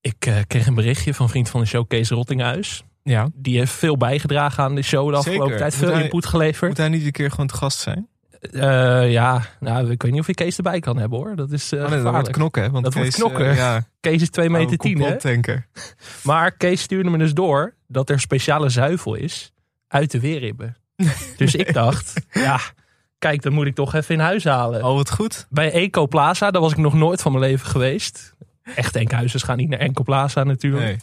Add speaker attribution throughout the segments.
Speaker 1: Ik eh, kreeg een berichtje van vriend van de show, Kees Rottinghuis.
Speaker 2: Ja.
Speaker 1: Die heeft veel bijgedragen aan de show de afgelopen
Speaker 2: Zeker.
Speaker 1: tijd.
Speaker 2: Moet
Speaker 1: Veel
Speaker 2: hij-
Speaker 1: input geleverd.
Speaker 2: Moet hij niet een keer gewoon te gast zijn?
Speaker 1: Eh, ja, nou, ik weet niet of ik Kees erbij kan hebben hoor. Dat is eh
Speaker 2: Oh, nee, dat wordt Oh,
Speaker 1: gevaarlijk.
Speaker 2: knokken, hè? Want
Speaker 1: Dat wordt
Speaker 2: Kees,
Speaker 1: knokken.
Speaker 2: eh, ja,
Speaker 1: Kees is 2 meter 10 hè.
Speaker 2: tanker.
Speaker 1: Maar Kees stuurde me dus door dat er speciale zuivel is uit de weerribben. Dus ik dacht, ja, kijk, dat moet ik toch even in huis halen.
Speaker 2: Oh, wat goed.
Speaker 1: Bij Eco Plaza, daar was ik nog nooit van mijn leven geweest. Echt Enkhuizers gaan niet naar Eco Plaza natuurlijk.
Speaker 2: Nee.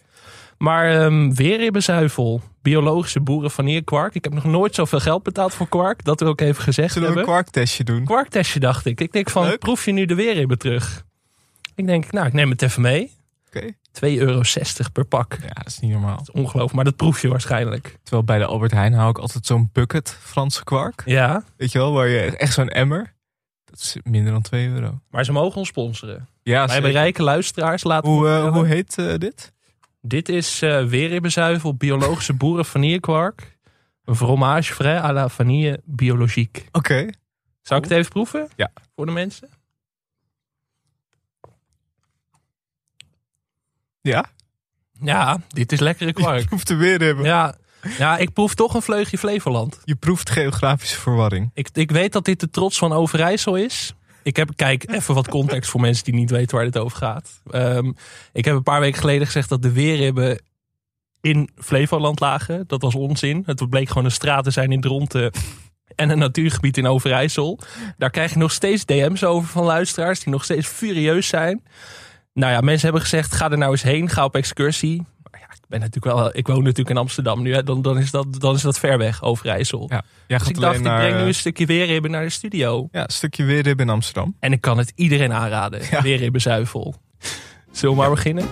Speaker 1: Maar ehm weerribbenzuivel, biologische boeren vanillekwark. Ik heb nog nooit zoveel geld betaald voor kwark. Dat wil ik even gezegd
Speaker 2: Zullen we een
Speaker 1: hebben.
Speaker 2: kwarktestje doen?
Speaker 1: Kwarktestje dacht ik. Ik denk van,
Speaker 2: Leuk.
Speaker 1: proef je nu de weerribben terug? Ik denk, nou, ik neem het even mee.
Speaker 2: Oké.
Speaker 1: 2,60 euro per pak.
Speaker 2: Ja, dat is niet normaal.
Speaker 1: Ongelooflijk, maar dat proef je waarschijnlijk.
Speaker 2: Terwijl bij de Albert Heijn hou ik altijd zo'n bucket Franse kwark.
Speaker 1: Ja,
Speaker 2: Weet je wel, waar je echt zo'n emmer. Dat is minder dan 2 euro.
Speaker 1: maar ze mogen ons sponsoren.
Speaker 2: Ja,
Speaker 1: Wij hebben
Speaker 2: zeker.
Speaker 1: rijke luisteraars. Laten
Speaker 2: hoe, eh,
Speaker 1: vertellen.
Speaker 2: hoe heet eh, dit?
Speaker 1: Dit is eh weerribbenzuivel, biologische boeren vanillekwark. Een fromage frais à la vanille biologique.
Speaker 2: Oké.
Speaker 1: Zou ik het even proeven?
Speaker 2: Ja.
Speaker 1: Voor de mensen?
Speaker 2: Ja,
Speaker 1: Ja, dit is lekkere
Speaker 2: je
Speaker 1: kwark.
Speaker 2: proeft er weer hebben.
Speaker 1: ja. ja, ik proef toch een vleugje Flevoland.
Speaker 2: Je proeft geografische verwarring.
Speaker 1: Ik, ik weet dat dit de trots van Overijssel is. Ik heb, kijk, even wat context voor mensen die niet weten waar dit over gaat. Ehm, ik heb een paar weken geleden gezegd dat de weerribben in Flevoland lagen. Dat was onzin. Het bleek gewoon een straat te zijn in Dronten en een natuurgebied in Overijssel. Daar krijg je nog steeds DM's over van luisteraars die nog steeds furieus zijn. Nou ja, mensen hebben gezegd, ga er nou eens heen, ga op excursie. Maar ja, ik, ben natuurlijk wel, ik woon natuurlijk in Amsterdam nu, hè. Dan, dan, is dat, dan is dat ver weg, Overijssel.
Speaker 2: Ja, jij
Speaker 1: Dus
Speaker 2: gaat
Speaker 1: ik dacht,
Speaker 2: alleen
Speaker 1: ik
Speaker 2: naar,
Speaker 1: breng nu
Speaker 2: eh,
Speaker 1: een stukje weerribben naar de studio.
Speaker 2: ja, een stukje weerribben in Amsterdam.
Speaker 1: En ik kan het iedereen aanraden.
Speaker 2: Ja.
Speaker 1: Weerribbenzuivel. Zullen we maar beginnen?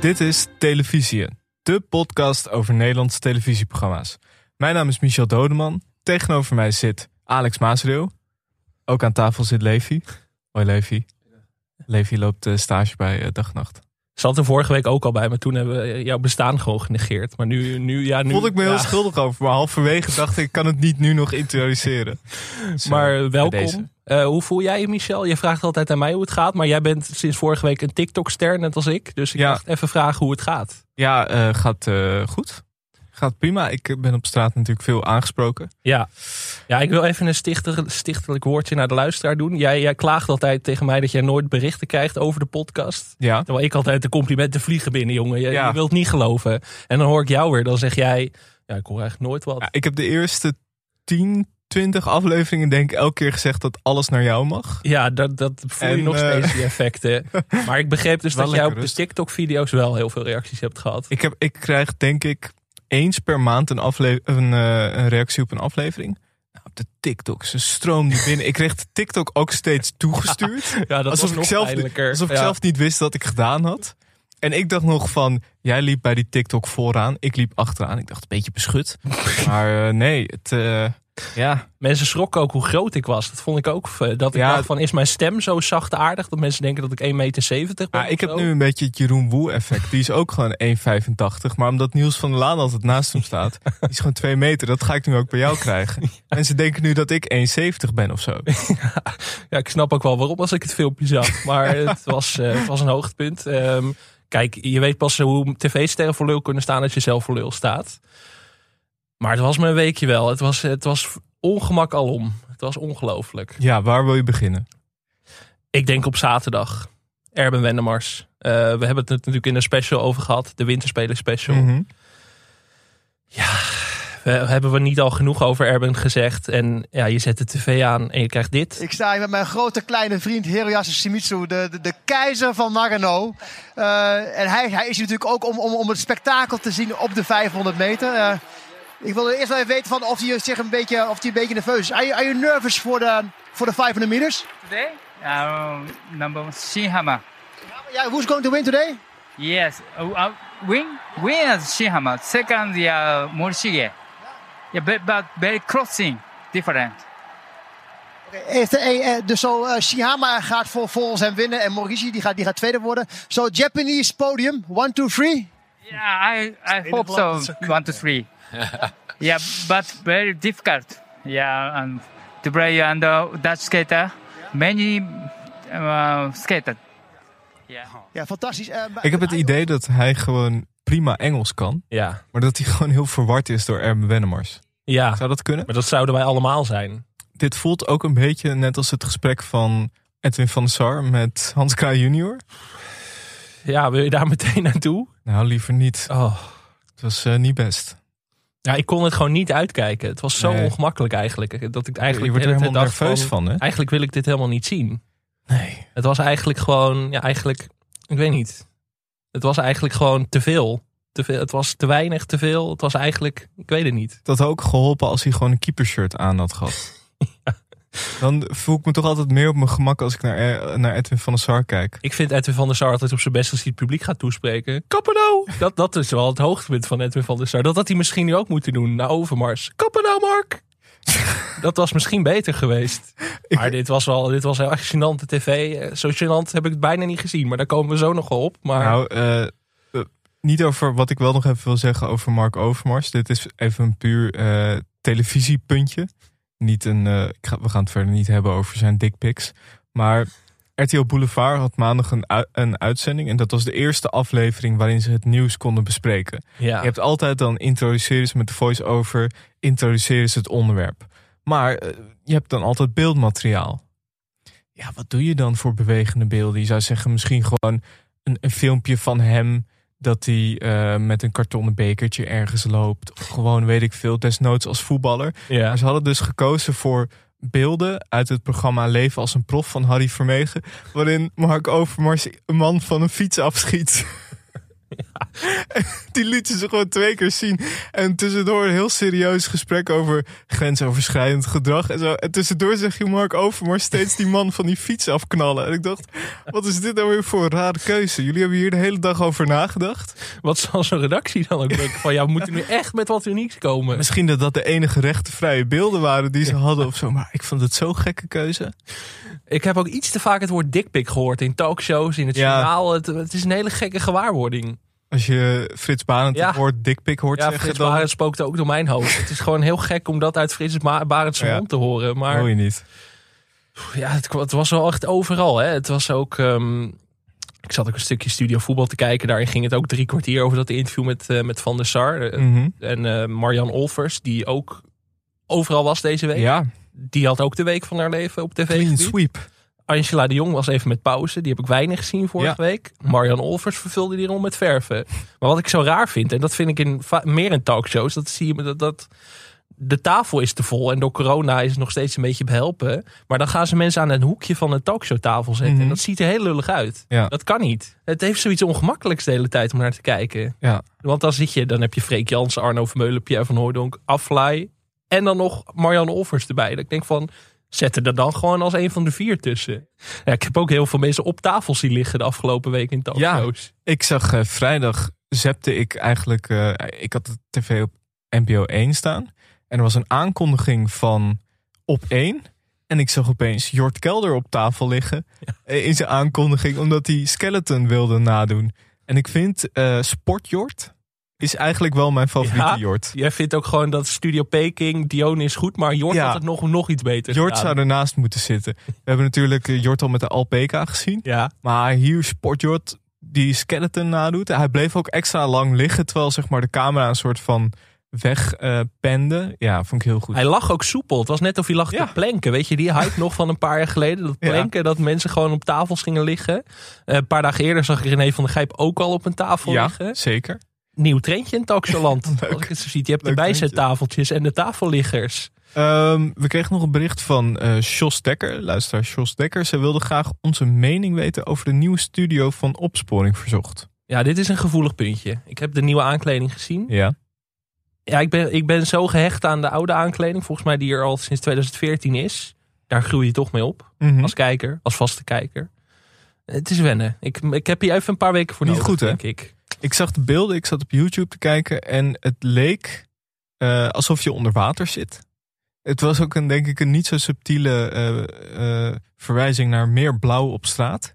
Speaker 2: Dit is Televisie, de podcast over Nederlandse televisieprogramma's. Mijn naam is Michel Dodeman. Tegenover mij zit Alex Maasreel. Ook aan tafel zit Levi. Hoi Levi. Levi loopt eh, stage bij eh, Dag en Nacht.
Speaker 1: Zat er vorige week ook al bij, maar toen hebben we jouw bestaan gewoon genegeerd. Maar nu, nu ja, nu.
Speaker 2: Voelde ik me heel
Speaker 1: ja.
Speaker 2: schuldig over, maar halverwege dacht ik, ik kan het niet nu nog introduceren. Zo,
Speaker 1: Maar welkom.
Speaker 2: bij deze.
Speaker 1: Eh, hoe voel jij je, Michel? Je vraagt altijd aan mij hoe het gaat. Maar jij bent sinds vorige week een TikTok-ster, net als ik. Dus ik
Speaker 2: Ja.
Speaker 1: dacht even vragen hoe het gaat.
Speaker 2: Ja, eh, gaat eh, goed. Gaat prima. Ik eh, ben op straat natuurlijk veel aangesproken.
Speaker 1: Ja, ja ik wil even een stichter, stichtelijk woordje naar de luisteraar doen. Jij, jij klaagt altijd tegen mij dat jij nooit berichten krijgt over de podcast.
Speaker 2: Ja.
Speaker 1: Terwijl ik altijd de complimenten vliegen binnen, jongen. Je,
Speaker 2: Ja.
Speaker 1: je wilt niet geloven. En dan hoor ik jou weer. Dan zeg jij, ja, ik hoor eigenlijk nooit wat.
Speaker 2: Ja, ik heb de eerste 10, 20 afleveringen denk ik elke keer gezegd dat alles naar jou mag.
Speaker 1: Ja, dat, dat voel je
Speaker 2: En,
Speaker 1: nog
Speaker 2: eh,
Speaker 1: steeds, die effecten. Maar ik begreep dus
Speaker 2: Wel
Speaker 1: dat jij op
Speaker 2: lekker
Speaker 1: de
Speaker 2: rustig.
Speaker 1: TikTok-video's wel heel veel reacties hebt gehad.
Speaker 2: Ik, heb, ik krijg denk ik eens per maand een, afle- een, eh, een reactie op een aflevering. Nou, op de TikTok, ze stroomde binnen. ik kreeg de Tik-tok ook steeds toegestuurd.
Speaker 1: Ja, dat
Speaker 2: alsof
Speaker 1: was
Speaker 2: ik
Speaker 1: nog
Speaker 2: zelf-
Speaker 1: pijnlijker.
Speaker 2: Alsof ik
Speaker 1: Ja.
Speaker 2: zelf niet wist dat ik gedaan had. En ik dacht nog van, jij liep bij die TikTok vooraan. Ik liep achteraan. Ik dacht, een beetje beschut. Maar eh, nee, het... eh, ja,
Speaker 1: Mensen schrokken ook hoe groot ik was. Dat vond ik ook. eh, Dat ik
Speaker 2: Ja.
Speaker 1: dacht van, is mijn stem zo zacht aardig dat mensen denken dat ik 1,70 meter ben?
Speaker 2: maar Ah, ik
Speaker 1: of
Speaker 2: heb
Speaker 1: zo?
Speaker 2: nu een beetje het Jeroen Woe effect. Die is ook gewoon 1,85. Maar omdat Niels van der Laan altijd naast hem staat, die is gewoon 2 meter. Dat ga ik nu ook bij jou krijgen. En ze denken nu dat ik 1,70 ben of zo.
Speaker 1: Ja, ik snap ook wel waarom als ik het filmpje zag. Maar het, was, eh, het was een hoogtepunt. Ehm, kijk, je weet pas hoe tv-sterren voor lul kunnen staan als je zelf voor lul staat. Maar het was mijn weekje wel. Het was, het was ongemak alom. Het was ongelooflijk.
Speaker 2: Ja, waar wil je beginnen?
Speaker 1: Ik denk op zaterdag. Erben Wennemars. Eh, we hebben het natuurlijk in de special over gehad. De Winterspelen special.
Speaker 2: Mhm.
Speaker 1: We, hebben we niet al genoeg over Erben gezegd. En ja, je zet de tv aan en je krijgt dit.
Speaker 3: Ik sta hier met mijn grote kleine vriend Hiroyasu Shimizu, de, de, de keizer van Nagano. Eh, en hij, hij is hier natuurlijk ook om, om, om het spektakel te zien op de 500 meter. Eh, ik wilde eerst wel even weten van of hij zich een beetje, of hij een beetje nerveus is. Are you, are you nervous voor de voor de 500 meters?
Speaker 4: Today, uh, number one, Shinhama.
Speaker 3: Yeah, who's going to win today?
Speaker 4: Yes, uh, uh, win, win is Shinhama. Second, yeah, Morishige. Yeah, but, but very crossing, different.
Speaker 3: Heeft, eh, eh, dus zo eh, Shihama gaat voor, volgens hem winnen en Morishi die gaat, die gaat tweede worden. Zo Japanese podium, one, two, three.
Speaker 4: Yeah, I, I hope so. One, two, three. yeah, but very difficult. Yeah, and to play and uh, Dutch skater, many uh, skater. Yeah.
Speaker 3: Ja, fantastisch. Eh, maar-
Speaker 2: Ik heb het idee dat hij gewoon prima Engels kan.
Speaker 1: Ja.
Speaker 2: Maar dat hij gewoon heel verward is door Erben Wennemars.
Speaker 1: ja, maar
Speaker 2: Zou dat kunnen?
Speaker 1: dat zouden wij allemaal zijn.
Speaker 2: Dit voelt ook een beetje net als het gesprek van Edwin van der Sar met Hans Kraaij junior.
Speaker 1: Ja, wil je daar meteen naartoe?
Speaker 2: Nou, liever niet.
Speaker 1: Oh.
Speaker 2: Het was eh, niet best.
Speaker 1: Ja, ik kon het gewoon niet uitkijken. Het was zo
Speaker 2: Nee.
Speaker 1: ongemakkelijk eigenlijk. eh, Dat ik
Speaker 2: Je
Speaker 1: eigenlijk
Speaker 2: wordt
Speaker 1: de
Speaker 2: er
Speaker 1: hele
Speaker 2: helemaal
Speaker 1: tijd dacht
Speaker 2: nerveus van, hè?
Speaker 1: Eigenlijk wil ik dit helemaal niet zien.
Speaker 2: Nee.
Speaker 1: Het was eigenlijk gewoon, ja, eigenlijk, ik weet niet. Het was eigenlijk gewoon te veel. Te veel. Het was te weinig, te veel. Het was eigenlijk, ik weet het niet.
Speaker 2: Dat had ook geholpen als hij gewoon een keepershirt aan had gehad. Dan voel ik me toch altijd meer op mijn gemak als ik naar, eh, naar Edwin van der Sar kijk.
Speaker 1: Ik vind Edwin van der Sar altijd op zijn best als hij het publiek gaat toespreken. Kappen nou! Dat, dat is wel het hoogtepunt van Edwin van der Sar. Dat had hij misschien nu ook moeten doen, naar Overmars. Kappen nou, Mark! dat was misschien beter geweest. Maar dit was wel, dit was heel erg gênante tv. Eh, Zo gênant heb ik het bijna niet gezien, maar daar komen we zo nog wel op. Maar
Speaker 2: Nou, eh, eh, niet over wat ik wel nog even wil zeggen over Mark Overmars. Dit is even een puur eh, televisiepuntje. Niet een, eh, ik ga- we gaan het verder niet hebben over zijn dickpics. Maar RTL Boulevard had maandag een, u- een uitzending. En dat was de eerste aflevering waarin ze het nieuws konden bespreken.
Speaker 1: ja.
Speaker 2: Je hebt altijd dan introduceren ze met de voice-over, introduceren ze het onderwerp. Maar eh, je hebt dan altijd beeldmateriaal. Ja, wat doe je dan voor bewegende beelden? Je zou zeggen misschien gewoon een, een filmpje van hem dat hij eh, met een kartonnen bekertje ergens loopt. Of gewoon, weet ik veel, desnoods als voetballer.
Speaker 1: ja.
Speaker 2: Maar ze hadden dus gekozen voor beelden uit het programma Leven als een prof van Harry Vermegen. Waarin Mark Overmars een man van een fiets afschiet. Die lieten ze gewoon twee keer zien. En tussendoor een heel serieus gesprek over grensoverschrijdend gedrag en zo. En tussendoor zeg je Mark Overmars steeds die man van die fiets afknallen. En ik dacht, wat is dit nou weer voor een rare keuze? Jullie hebben hier de hele dag over nagedacht.
Speaker 1: Wat zal zo'n redactie dan ook denken? Van ja, we moeten nu echt met wat unieks komen.
Speaker 2: Misschien dat dat de enige rechtenvrije beelden waren die ze hadden of zo. Maar ik vond het zo'n gekke keuze.
Speaker 1: Ik heb ook iets te vaak het woord dikpik gehoord in talkshows, in het
Speaker 2: Ja.
Speaker 1: journaal. Het, het is een hele gekke gewaarwording.
Speaker 2: Als je Frits Barend
Speaker 1: Ja.
Speaker 2: het woord dikpik hoort
Speaker 1: Ja,
Speaker 2: zeggen,
Speaker 1: Frits
Speaker 2: dan
Speaker 1: Barend spookt ook door mijn hoofd. het is gewoon heel gek om dat uit Frits Ma- Barend's
Speaker 2: Ja.
Speaker 1: mond te horen. Maar
Speaker 2: hoor je niet.
Speaker 1: pff, ja, het, kwa- het was wel echt overal. Hè. Het was ook... ehm, ik zat ook een stukje studio voetbal te kijken. Daarin ging het ook drie kwartier over dat interview met, eh, met Van der Sar. eh,
Speaker 2: Mhm.
Speaker 1: En eh Marjan Olvers, die ook overal was deze week.
Speaker 2: Ja,
Speaker 1: Die had ook de week van haar leven op tv.
Speaker 2: clean
Speaker 1: gebied.
Speaker 2: sweep.
Speaker 1: Angela de Jong was even met pauze. Die heb ik weinig gezien vorige
Speaker 2: Ja.
Speaker 1: week. Marian Olvers vervulde die rol met verven. Maar wat ik zo raar vind, en dat vind ik in, va- meer in talkshows, dat zie je dat, dat de tafel is te vol. En door corona is het nog steeds een beetje behelpen. Maar dan gaan ze mensen aan een hoekje van een talkshowtafel zetten.
Speaker 2: Mhm.
Speaker 1: En dat ziet er heel lullig uit.
Speaker 2: Ja.
Speaker 1: Dat kan niet. Het heeft zoiets ongemakkelijks de hele tijd om naar te kijken.
Speaker 2: Ja.
Speaker 1: Want dan zit je, dan heb je Freek Jansen, Arno Vermeulen, Pierre van Hooydonk, Aflaai. En dan nog Marianne Olvers erbij. Dat ik denk van, zet er dan gewoon als een van de vier tussen. Ja, ik heb ook heel veel mensen op tafel zien liggen de afgelopen week in talkshows.
Speaker 2: Ik zag eh, vrijdag, zepte ik eigenlijk, eh, ik had de tv op NPO 1 staan. En er was een aankondiging van op 1. En ik zag opeens Jort Kelder op tafel liggen eh, in zijn aankondiging, omdat hij Skeleton wilde nadoen. En ik vind eh Sport Jort is eigenlijk wel mijn favoriete
Speaker 1: Ja.
Speaker 2: Jort.
Speaker 1: Jij vindt ook gewoon dat Studio Peking, Dion is goed, maar Jort
Speaker 2: Ja.
Speaker 1: had het nog, nog iets beter
Speaker 2: Jort
Speaker 1: gedaan.
Speaker 2: zou ernaast moeten zitten. We hebben natuurlijk eh, Jort al met de Alpeka gezien.
Speaker 1: Ja,
Speaker 2: Maar hier Sportjord die skeleton nadoet. Hij bleef ook extra lang liggen, terwijl zeg maar, de camera een soort van wegpende. pende. ja, vond ik heel goed.
Speaker 1: hij lag ook soepel. Het was net of hij lag
Speaker 2: Ja.
Speaker 1: te planken. Weet je, die hype nog van een paar jaar geleden. Dat
Speaker 2: Ja.
Speaker 1: planken, dat mensen gewoon op tafels gingen liggen. Eh, een paar dagen eerder zag ik René van der Gijp ook al op een tafel
Speaker 2: ja,
Speaker 1: liggen.
Speaker 2: zeker.
Speaker 1: Nieuw trendje in Taxoland.
Speaker 2: Leuk.
Speaker 1: Als ik het zo zie. Je hebt de
Speaker 2: Leuk trendje.
Speaker 1: bijzettafeltjes en de tafelliggers.
Speaker 2: Ehm, we kregen nog een bericht van eh Jos Dekker. Luisteraar Jos Dekker. Ze wilde graag onze mening weten over de nieuwe studio van Opsporing Verzocht.
Speaker 1: Ja, dit is een gevoelig puntje. Ik heb de nieuwe aankleding gezien.
Speaker 2: Ja.
Speaker 1: Ja, ik ben, ik ben zo gehecht aan de oude aankleding. Volgens mij die er al sinds 2014 is. Daar groei je toch mee op.
Speaker 2: Mhm.
Speaker 1: Als kijker, als vaste kijker. Het is wennen. Ik, ik heb hier even een paar weken voor
Speaker 2: Niet
Speaker 1: nodig,
Speaker 2: goed, hè?
Speaker 1: denk ik.
Speaker 2: Ik zag de beelden, ik zat op YouTube te kijken en het leek eh, alsof je onder water zit. Het was ook een, denk ik, een niet zo subtiele eh, eh, verwijzing naar meer blauw op straat.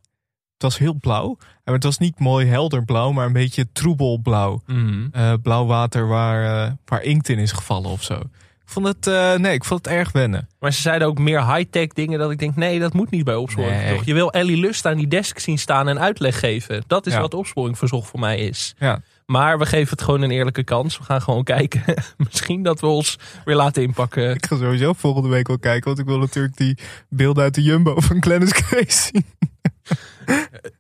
Speaker 2: Het was heel blauw. En het was niet mooi helder blauw, maar een beetje troebel blauw.
Speaker 1: Mhm.
Speaker 2: Eh, blauw water waar, eh, waar inkt in is gevallen of zo. Ik vond het, eh, nee, ik vond het erg wennen.
Speaker 1: Maar ze zeiden ook meer high-tech dingen dat ik denk, nee, dat moet niet bij opsporing.
Speaker 2: Nee.
Speaker 1: Toch? Je wil Ellie Lust aan die desk zien staan en uitleg geven. Dat is
Speaker 2: Ja.
Speaker 1: wat opsporing verzocht voor mij is.
Speaker 2: Ja.
Speaker 1: Maar we geven het gewoon een eerlijke kans. We gaan gewoon kijken. Misschien dat we ons weer laten inpakken.
Speaker 2: Ik ga sowieso volgende week wel kijken, want ik wil natuurlijk die beelden uit de Jumbo van Glennis Grace zien.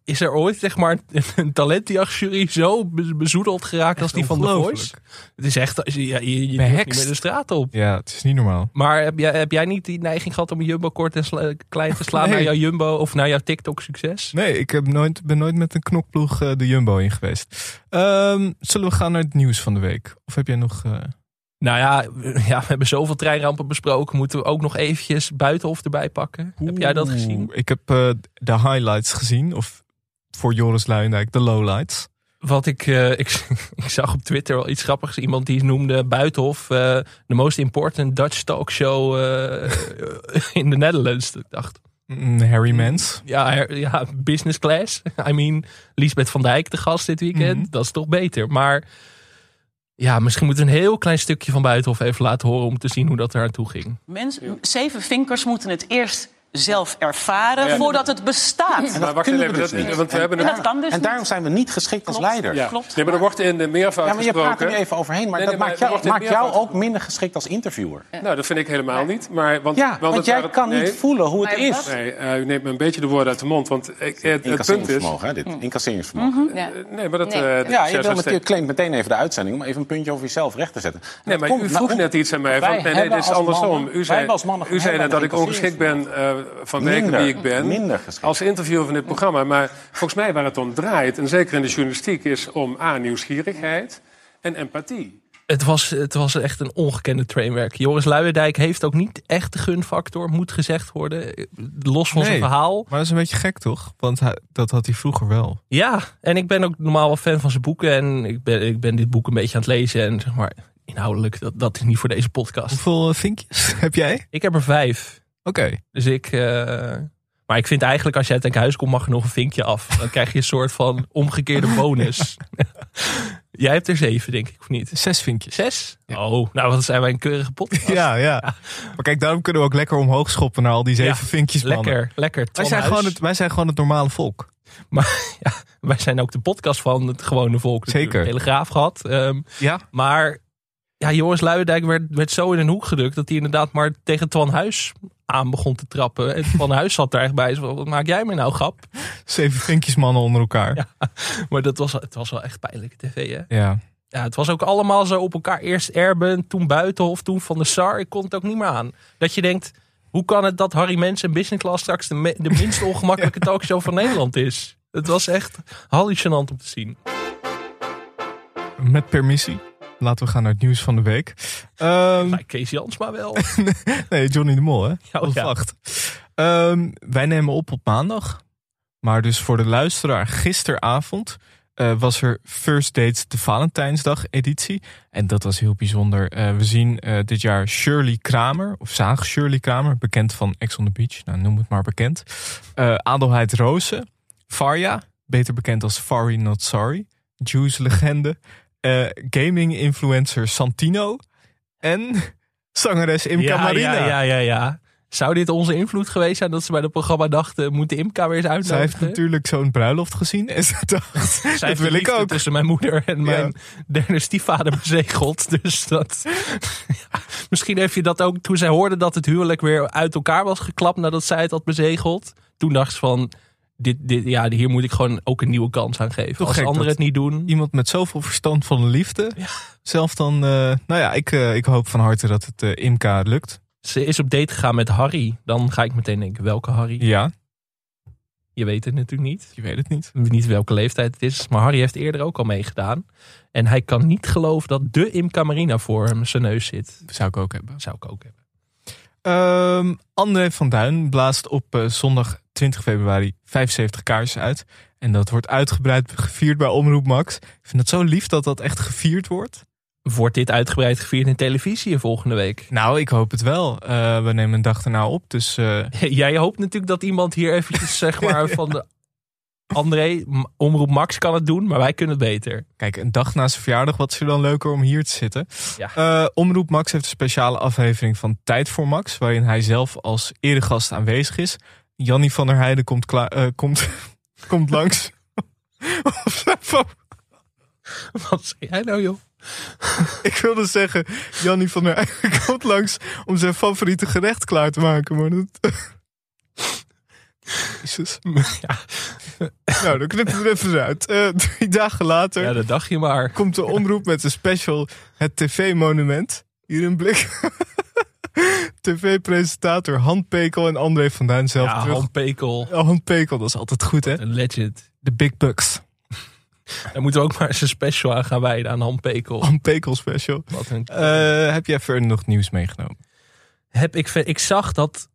Speaker 1: Is er ooit zeg maar een talentjachtjury zo be- bezoedeld geraakt als die van The Voice? Het is echt, ja, je, je durft niet
Speaker 2: Behext.
Speaker 1: meer de straat op.
Speaker 2: Ja, het is niet normaal.
Speaker 1: Maar heb jij, heb jij niet die neiging gehad om een jumbo kort en sla- klein te slaan
Speaker 2: Nee.
Speaker 1: naar jouw jumbo of naar jouw TikTok succes?
Speaker 2: Nee, ik heb nooit, ben nooit met een knokploeg eh, de Jumbo in geweest. Ehm, zullen we gaan naar het nieuws van de week? Of heb jij nog... eh,
Speaker 1: Nou ja, we- ja, we hebben zoveel treinrampen besproken. Moeten we ook nog eventjes Buitenhof erbij pakken? heb jij dat
Speaker 2: Oeh,
Speaker 1: gezien?
Speaker 2: Ik heb eh, de highlights gezien. Of voor Joris Luijendijk, de lowlights.
Speaker 1: Wat ik, eh, ik, ik zag op Twitter wel iets grappigs. Iemand die noemde Buitenhof eh the most important Dutch talk show eh, in the Netherlands. Ik dacht,
Speaker 2: Mm, Harry Mens.
Speaker 1: ja, her- ja, business class. I mean, Lisbeth van Dijk de gast dit weekend.
Speaker 2: Mhm.
Speaker 1: Dat is toch beter. Maar ja, misschien moeten we een heel klein stukje van Buitenhof even laten horen... om te zien hoe dat eraan toe ging.
Speaker 5: Mensen, zeven vinkers moeten het eerst zelf ervaren voordat het bestaat.
Speaker 6: Maar wacht even, dat, want we hebben
Speaker 5: En
Speaker 6: het.
Speaker 5: dat kan dus
Speaker 7: En daarom zijn we niet geschikt als leider.
Speaker 6: Ja.
Speaker 7: Ja,
Speaker 5: klopt.
Speaker 6: Nee, maar er wordt in de meervoud
Speaker 7: maar je praat er
Speaker 6: gesproken.
Speaker 7: nu even overheen, maar
Speaker 6: Nee,
Speaker 7: dat
Speaker 6: nee, maar
Speaker 7: maakt
Speaker 6: er
Speaker 7: jou,
Speaker 6: wordt in
Speaker 7: maakt jou
Speaker 6: meervoud-
Speaker 7: ook minder geschikt als interviewer.
Speaker 6: Nou, dat vind ik helemaal niet. Maar, want,
Speaker 7: Ja, want
Speaker 6: het
Speaker 7: jij
Speaker 6: waren-
Speaker 7: kan
Speaker 6: nee,
Speaker 7: niet voelen hoe het
Speaker 5: Maar
Speaker 7: is.
Speaker 5: wat?
Speaker 6: Nee, eh, u neemt me een beetje de woorden uit de mond. Want ik, eh, het, het punt is.
Speaker 7: Incasseringsvermogen, hè, dit.
Speaker 5: Mm-hmm.
Speaker 7: Incasseringsvermogen.
Speaker 8: Ja.
Speaker 6: Eh, Nee, maar dat.
Speaker 8: Nee.
Speaker 6: eh, dat
Speaker 7: Ja,
Speaker 6: is
Speaker 7: je
Speaker 6: juist
Speaker 7: wil
Speaker 6: een
Speaker 7: meteen, claimt meteen even de uitzending om even een puntje over jezelf recht te zetten. En
Speaker 6: Nee,
Speaker 7: dat
Speaker 6: maar
Speaker 7: komt
Speaker 6: u vroeg
Speaker 7: nou-
Speaker 6: net iets aan mij. Van,
Speaker 7: wij
Speaker 6: nee, nee,
Speaker 7: hebben
Speaker 6: dit is
Speaker 7: als
Speaker 6: andersom.
Speaker 7: mannen-
Speaker 6: u
Speaker 7: wij
Speaker 6: zei,
Speaker 7: hebben als mannen
Speaker 6: u zei
Speaker 7: helemaal
Speaker 6: net dat
Speaker 7: geen
Speaker 6: ik ongeschikt ben eh, vanwege
Speaker 7: Minder.
Speaker 6: wie ik ben.
Speaker 7: Minder geschikt.
Speaker 6: Als interviewer van dit programma. Maar volgens mij waar het om draait, en zeker in de journalistiek, is om A, nieuwsgierigheid en empathie.
Speaker 1: Het was, het was echt een ongekende trainwerk. Joris Luijendijk heeft ook niet echt de gunfactor, moet gezegd worden. Eh, Los van zijn
Speaker 2: Nee.
Speaker 1: verhaal.
Speaker 2: Maar dat is een beetje gek, toch? Want hij- dat had hij vroeger wel.
Speaker 1: Ja, en ik ben ook normaal wel fan van zijn boeken. En ik ben, ik ben dit boek een beetje aan het lezen. En zeg maar, inhoudelijk, dat, dat is niet voor deze podcast.
Speaker 2: Hoeveel eh, vinkjes heb jij? Oké.
Speaker 1: Ik heb er vijf. Dus ik. eh, maar ik vind eigenlijk als je uit huis komt, mag er nog een vinkje af. Dan krijg je een soort van omgekeerde bonus. Jij hebt er zeven, denk ik, of niet?
Speaker 2: Zes vinkjes.
Speaker 1: Zes? Oh, nou wat zijn wij een keurige podcast.
Speaker 2: Ja, ja. Maar kijk, daarom kunnen we ook lekker omhoog schoppen naar al die zeven
Speaker 1: Ja,
Speaker 2: vinkjes, mannen.
Speaker 1: Lekker, lekker.
Speaker 2: Wij
Speaker 1: Twan
Speaker 2: zijn,
Speaker 1: Huis.
Speaker 2: gewoon het, wij zijn gewoon het normale volk.
Speaker 1: Maar ja, wij zijn ook de podcast van het gewone volk. natuurlijk.
Speaker 2: Zeker.
Speaker 1: Telegraaf gehad. Ehm,
Speaker 2: Ja.
Speaker 1: Maar ja, Joris Luijendijk werd, werd zo in een hoek gedrukt dat hij inderdaad maar tegen Twan Huis aan begon te trappen. En Twan Huis zat daar echt bij. Zo, Wat maak jij me nou grap?
Speaker 2: Zeven vinkjes, mannen onder elkaar. Ja.
Speaker 1: Maar dat was, het was wel echt pijnlijke tv, hè? Ja, het was ook allemaal zo op elkaar. Eerst Erben, toen Buitenhof, toen Van der Sar. Ik kon het ook niet meer aan. Dat je denkt, hoe kan het dat Harry Mensen Business Class straks de, me- de minst ongemakkelijke talkshow van Nederland is? Het was echt hallucinant om te zien.
Speaker 2: Met permissie. Laten we gaan naar het nieuws van de week. Ehm,
Speaker 1: Bij Kees Jansma wel.
Speaker 2: nee, Johnny de Mol, hè?
Speaker 1: Ja,
Speaker 2: Of
Speaker 1: ja.
Speaker 2: wacht. Ehm, wij nemen op op maandag. Maar dus voor de luisteraar, gisteravond eh, was er First Dates de Valentijnsdag editie. En dat was heel bijzonder. Eh, we zien eh, dit jaar Shirley Kramer, of zaag Shirley Kramer, bekend van Ex on the Beach. Nou, noem het maar bekend. Eh, Adelheid Rozen, Farja, beter bekend als Fari Not Sorry. Juice legende. eh, gaming influencer Santino. En zangeres Imca
Speaker 1: ja,
Speaker 2: Marina.
Speaker 1: Ja, ja, ja, ja. Zou dit onze invloed geweest zijn dat ze bij het programma dachten, moet de Imka weer eens
Speaker 2: Zij heeft
Speaker 1: uitnodigen?
Speaker 2: natuurlijk zo'n bruiloft gezien en ze dacht,
Speaker 1: Zij
Speaker 2: dat
Speaker 1: heeft
Speaker 2: wil
Speaker 1: de
Speaker 2: ik
Speaker 1: liefde
Speaker 2: ook.
Speaker 1: tussen mijn moeder en mijn derde stiefvader bezegeld. Dus dat. Ja, misschien heeft je dat ook. Toen zij hoorde dat het huwelijk weer uit elkaar was geklapt nadat zij het had bezegeld. Toen dacht ze van. Dit, dit, ja, hier moet ik gewoon ook een nieuwe kans aan geven.
Speaker 2: Toch
Speaker 1: Als
Speaker 2: gek
Speaker 1: anderen
Speaker 2: dat-
Speaker 1: het niet doen.
Speaker 2: Iemand met zoveel verstand van liefde. Zelf dan, eh, nou ja, ik, eh, ik hoop van harte dat het eh, Imka lukt.
Speaker 1: Ze is op date gegaan met Harry. Dan ga ik meteen denken: welke Harry?
Speaker 2: Ja,
Speaker 1: Je weet het natuurlijk niet.
Speaker 2: je weet het niet.
Speaker 1: niet welke leeftijd het is, maar Harry heeft eerder ook al meegedaan. En hij kan niet geloven dat de Imca Marina voor hem zijn neus zit.
Speaker 2: Zou ik ook hebben.
Speaker 1: Dat zou ik ook hebben.
Speaker 2: Ehm, André van Duin blaast op eh, zondag 20 februari 75 kaarsen uit. En dat wordt uitgebreid gevierd bij Omroep Max. Ik vind het zo lief dat dat echt gevierd wordt.
Speaker 1: Wordt dit uitgebreid gevierd in televisie volgende week?
Speaker 2: Nou, ik hoop het wel. Eh, we nemen een dag daarna op, dus eh,
Speaker 1: Jij hoopt natuurlijk dat iemand hier eventjes zeg maar van de... André, M- Omroep Max kan het doen, maar wij kunnen het beter.
Speaker 2: Kijk, een dag na zijn verjaardag, wat is er dan leuker om hier te zitten?
Speaker 1: Ja.
Speaker 2: Eh, Omroep Max heeft een speciale aflevering van Tijd voor Max, waarin hij zelf als eregast aanwezig is. Jannie van der Heijden komt, kla- eh, komt, komt langs. Of zo.
Speaker 1: Wat zei jij nou, joh?
Speaker 2: Ik wilde zeggen, Jannie van der Heijden komt langs om zijn favoriete gerecht klaar te maken, maar dat... Jezus.
Speaker 1: Ja.
Speaker 2: Nou, dan knippen we er even uit. Eh, drie dagen later...
Speaker 1: Ja, dat dacht je maar.
Speaker 2: komt de omroep met een special Het TV-monument. Hier in blik. TV-presentator Han Pekel en André van Duin zelf
Speaker 1: Ja,
Speaker 2: terug. Oh,
Speaker 1: Han Pekel,
Speaker 2: Han... Pekel, dat is altijd goed, hè?
Speaker 1: een legend.
Speaker 2: De Big Bucks.
Speaker 1: Daar moeten we ook maar eens een special aan gaan wijden aan Han Pekel.
Speaker 2: Han Pekel special.
Speaker 1: Wat een...
Speaker 2: Eh, heb jij verder nog nieuws meegenomen?
Speaker 1: Heb ik, ve- ik zag dat,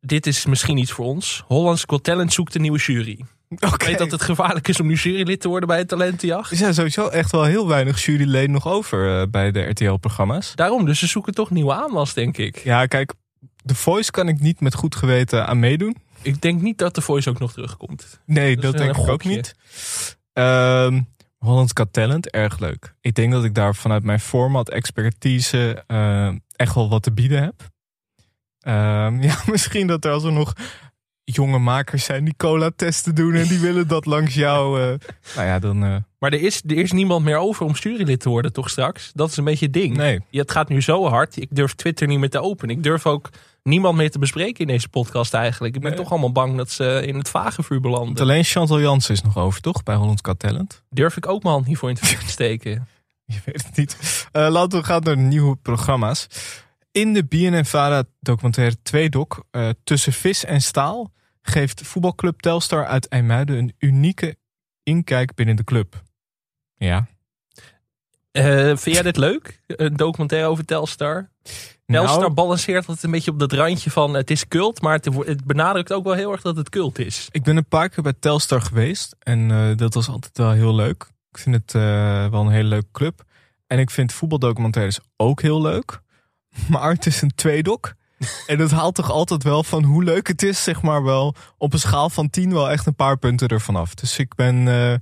Speaker 1: dit is misschien iets voor ons, Hollands Got Talent zoekt een nieuwe jury.
Speaker 2: Oké.
Speaker 1: Ik weet dat het gevaarlijk is om nu jurylid te worden bij een talentenjacht.
Speaker 2: Er zijn sowieso echt wel heel weinig juryleden nog over eh, bij de RTL-programma's.
Speaker 1: Daarom, dus ze zoeken toch nieuwe aanwas, denk ik.
Speaker 2: Ja, kijk, The Voice kan ik niet met goed geweten aan meedoen.
Speaker 1: Ik denk niet dat de voice ook nog terugkomt.
Speaker 2: Nee,
Speaker 1: Dat
Speaker 2: dat,
Speaker 1: is een
Speaker 2: denk ik ook
Speaker 1: gokje.
Speaker 2: niet. Ehm Holland Got Talent, erg leuk. Ik denk dat ik daar vanuit mijn format, expertise, ehm, echt wel wat te bieden heb. Ehm, ja, misschien dat er als er nog jonge makers zijn die cola-testen doen en die willen dat langs jou. eh, nou ja, dan. eh,
Speaker 1: Maar er is, er is niemand meer over om jurylid te worden, toch straks? Dat is een beetje het ding.
Speaker 2: nee.
Speaker 1: Ja, het gaat nu zo hard. Ik durf Twitter niet meer te openen. Ik durf ook niemand meer te bespreken in deze podcast eigenlijk. Ik ben
Speaker 2: Nee.
Speaker 1: toch allemaal bang dat ze in het vage vuur
Speaker 2: Want
Speaker 1: belanden.
Speaker 2: alleen Chantal Jansen is nog over, toch? Bij Holland Got Talent.
Speaker 1: Durf ik ook mijn hand niet voor in het vuur te steken.
Speaker 2: Je weet het niet. Eh, laten we gaan naar de nieuwe programma's. In de BNNVARA documentaire 2-doc eh, Tussen Vis en Staal geeft voetbalclub Telstar uit IJmuiden een unieke inkijk binnen de club. Ja.
Speaker 1: Eh, vind jij dit leuk? Een documentaire over Telstar?
Speaker 2: Nou-
Speaker 1: Telstar balanceert het een beetje op dat randje van het is cult, maar het, wo- het benadrukt ook wel heel erg dat het cult is.
Speaker 2: Ik ben een paar keer bij Telstar geweest. En eh, dat was altijd wel heel leuk. Ik vind het eh, wel een hele leuke club. En ik vind voetbaldocumentaires ook heel leuk. Maar het is een tweedok. En dat haalt toch altijd wel van hoe leuk het is, zeg maar wel. Op een schaal van 10 wel echt een paar punten ervan af. Dus ik ben. eh,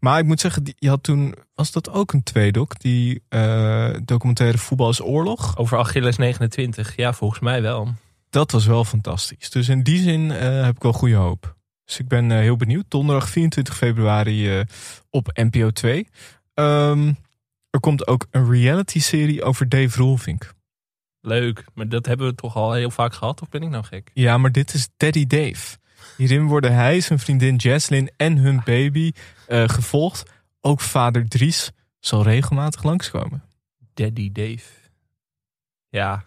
Speaker 2: maar ik moet zeggen, die- je had toen. Was dat ook een tweedok? Die eh, documentaire Voetbal is Oorlog.
Speaker 1: Over Achilles 29, ja, volgens mij wel.
Speaker 2: Dat was wel fantastisch. Dus in die zin eh, heb ik wel goede hoop. Dus ik ben eh, heel benieuwd. Donderdag 24 februari eh, op NPO 2. Ehm, er komt ook een reality-serie over Dave Roelvink.
Speaker 1: Leuk, maar dat hebben we toch al heel vaak gehad, of ben ik nou gek?
Speaker 2: Ja, maar dit is Daddy Dave. Hierin worden hij, zijn vriendin Jaslyn en hun baby eh, gevolgd. Ook vader Dries zal regelmatig langskomen.
Speaker 1: Daddy Dave. Ja.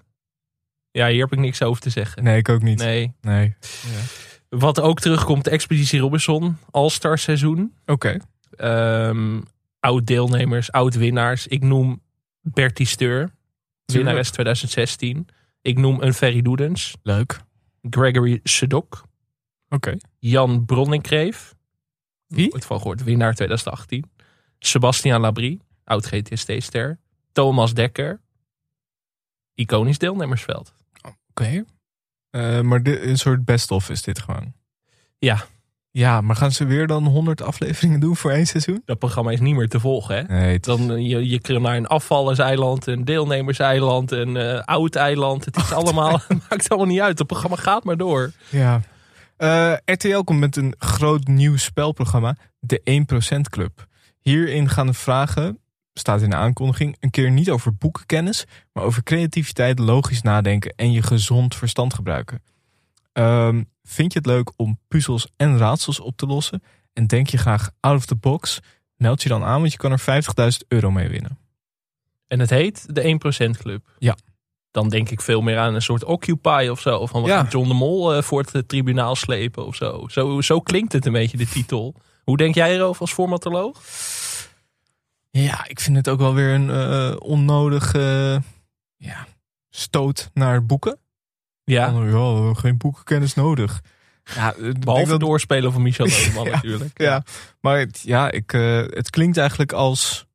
Speaker 1: Ja, hier heb ik niks over te zeggen.
Speaker 2: Nee, ik ook niet. Nee.
Speaker 1: Nee. Wat ook terugkomt, Expeditie Robinson, All-Star seizoen.
Speaker 2: Oké.
Speaker 1: Ehm, oud deelnemers, oud winnaars. Ik noem Bertie Steur, winnares 2016. Ik noem een Ferry Doedens,
Speaker 2: Leuk. Oké.
Speaker 1: Gregory Sedok, Jan Bronninkreef.
Speaker 2: Wie?
Speaker 1: Nooit van gehoord, winnaar 2018. Sebastian Labrie, oud GTST-ster. Thomas Dekker. Iconisch deelnemersveld.
Speaker 2: Oké. Eh, maar dit, een soort best-of is dit gewoon.
Speaker 1: Ja.
Speaker 2: Ja, maar gaan ze weer dan 100 afleveringen doen voor één seizoen?
Speaker 1: Dat programma is niet meer te volgen, hè?
Speaker 2: Nee, het
Speaker 1: Dan, eh, je, je kunt naar een afvallerseiland, een deelnemerseiland, een eh, oud eiland. Het is allemaal, maakt allemaal niet uit. Het programma gaat maar door.
Speaker 2: Ja. Eh, RTL komt met een groot nieuw spelprogramma, de 1% Club. Hierin gaan de vragen, staat in de aankondiging, een keer niet over boekenkennis, maar over creativiteit, logisch nadenken en je gezond verstand gebruiken. Ehm, vind je het leuk om puzzels en raadsels op te lossen? En denk je graag out of the box? Meld je dan aan, want je kan er 50.000 euro mee winnen.
Speaker 1: En het heet de 1% Club.
Speaker 2: Ja.
Speaker 1: Dan denk ik veel meer aan een soort Occupy of zo. Van we
Speaker 2: Ja.
Speaker 1: gaan John de Mol eh, voor het eh, tribunaal slepen of zo. zo. Zo klinkt het een beetje, de titel. Hoe denk jij erover als formatoloog?
Speaker 2: Ja, ik vind het ook wel weer een eh, onnodige eh, ja, stoot naar boeken.
Speaker 1: Ja,
Speaker 2: Van, ja, we hebben geen boekenkennis nodig. Ja, eh, ik denk
Speaker 1: behalve
Speaker 2: dat-
Speaker 1: doorspelen van Michel Dodeman
Speaker 2: Ja,
Speaker 1: natuurlijk.
Speaker 2: Ja, maar het, ja, ik, eh, het klinkt eigenlijk als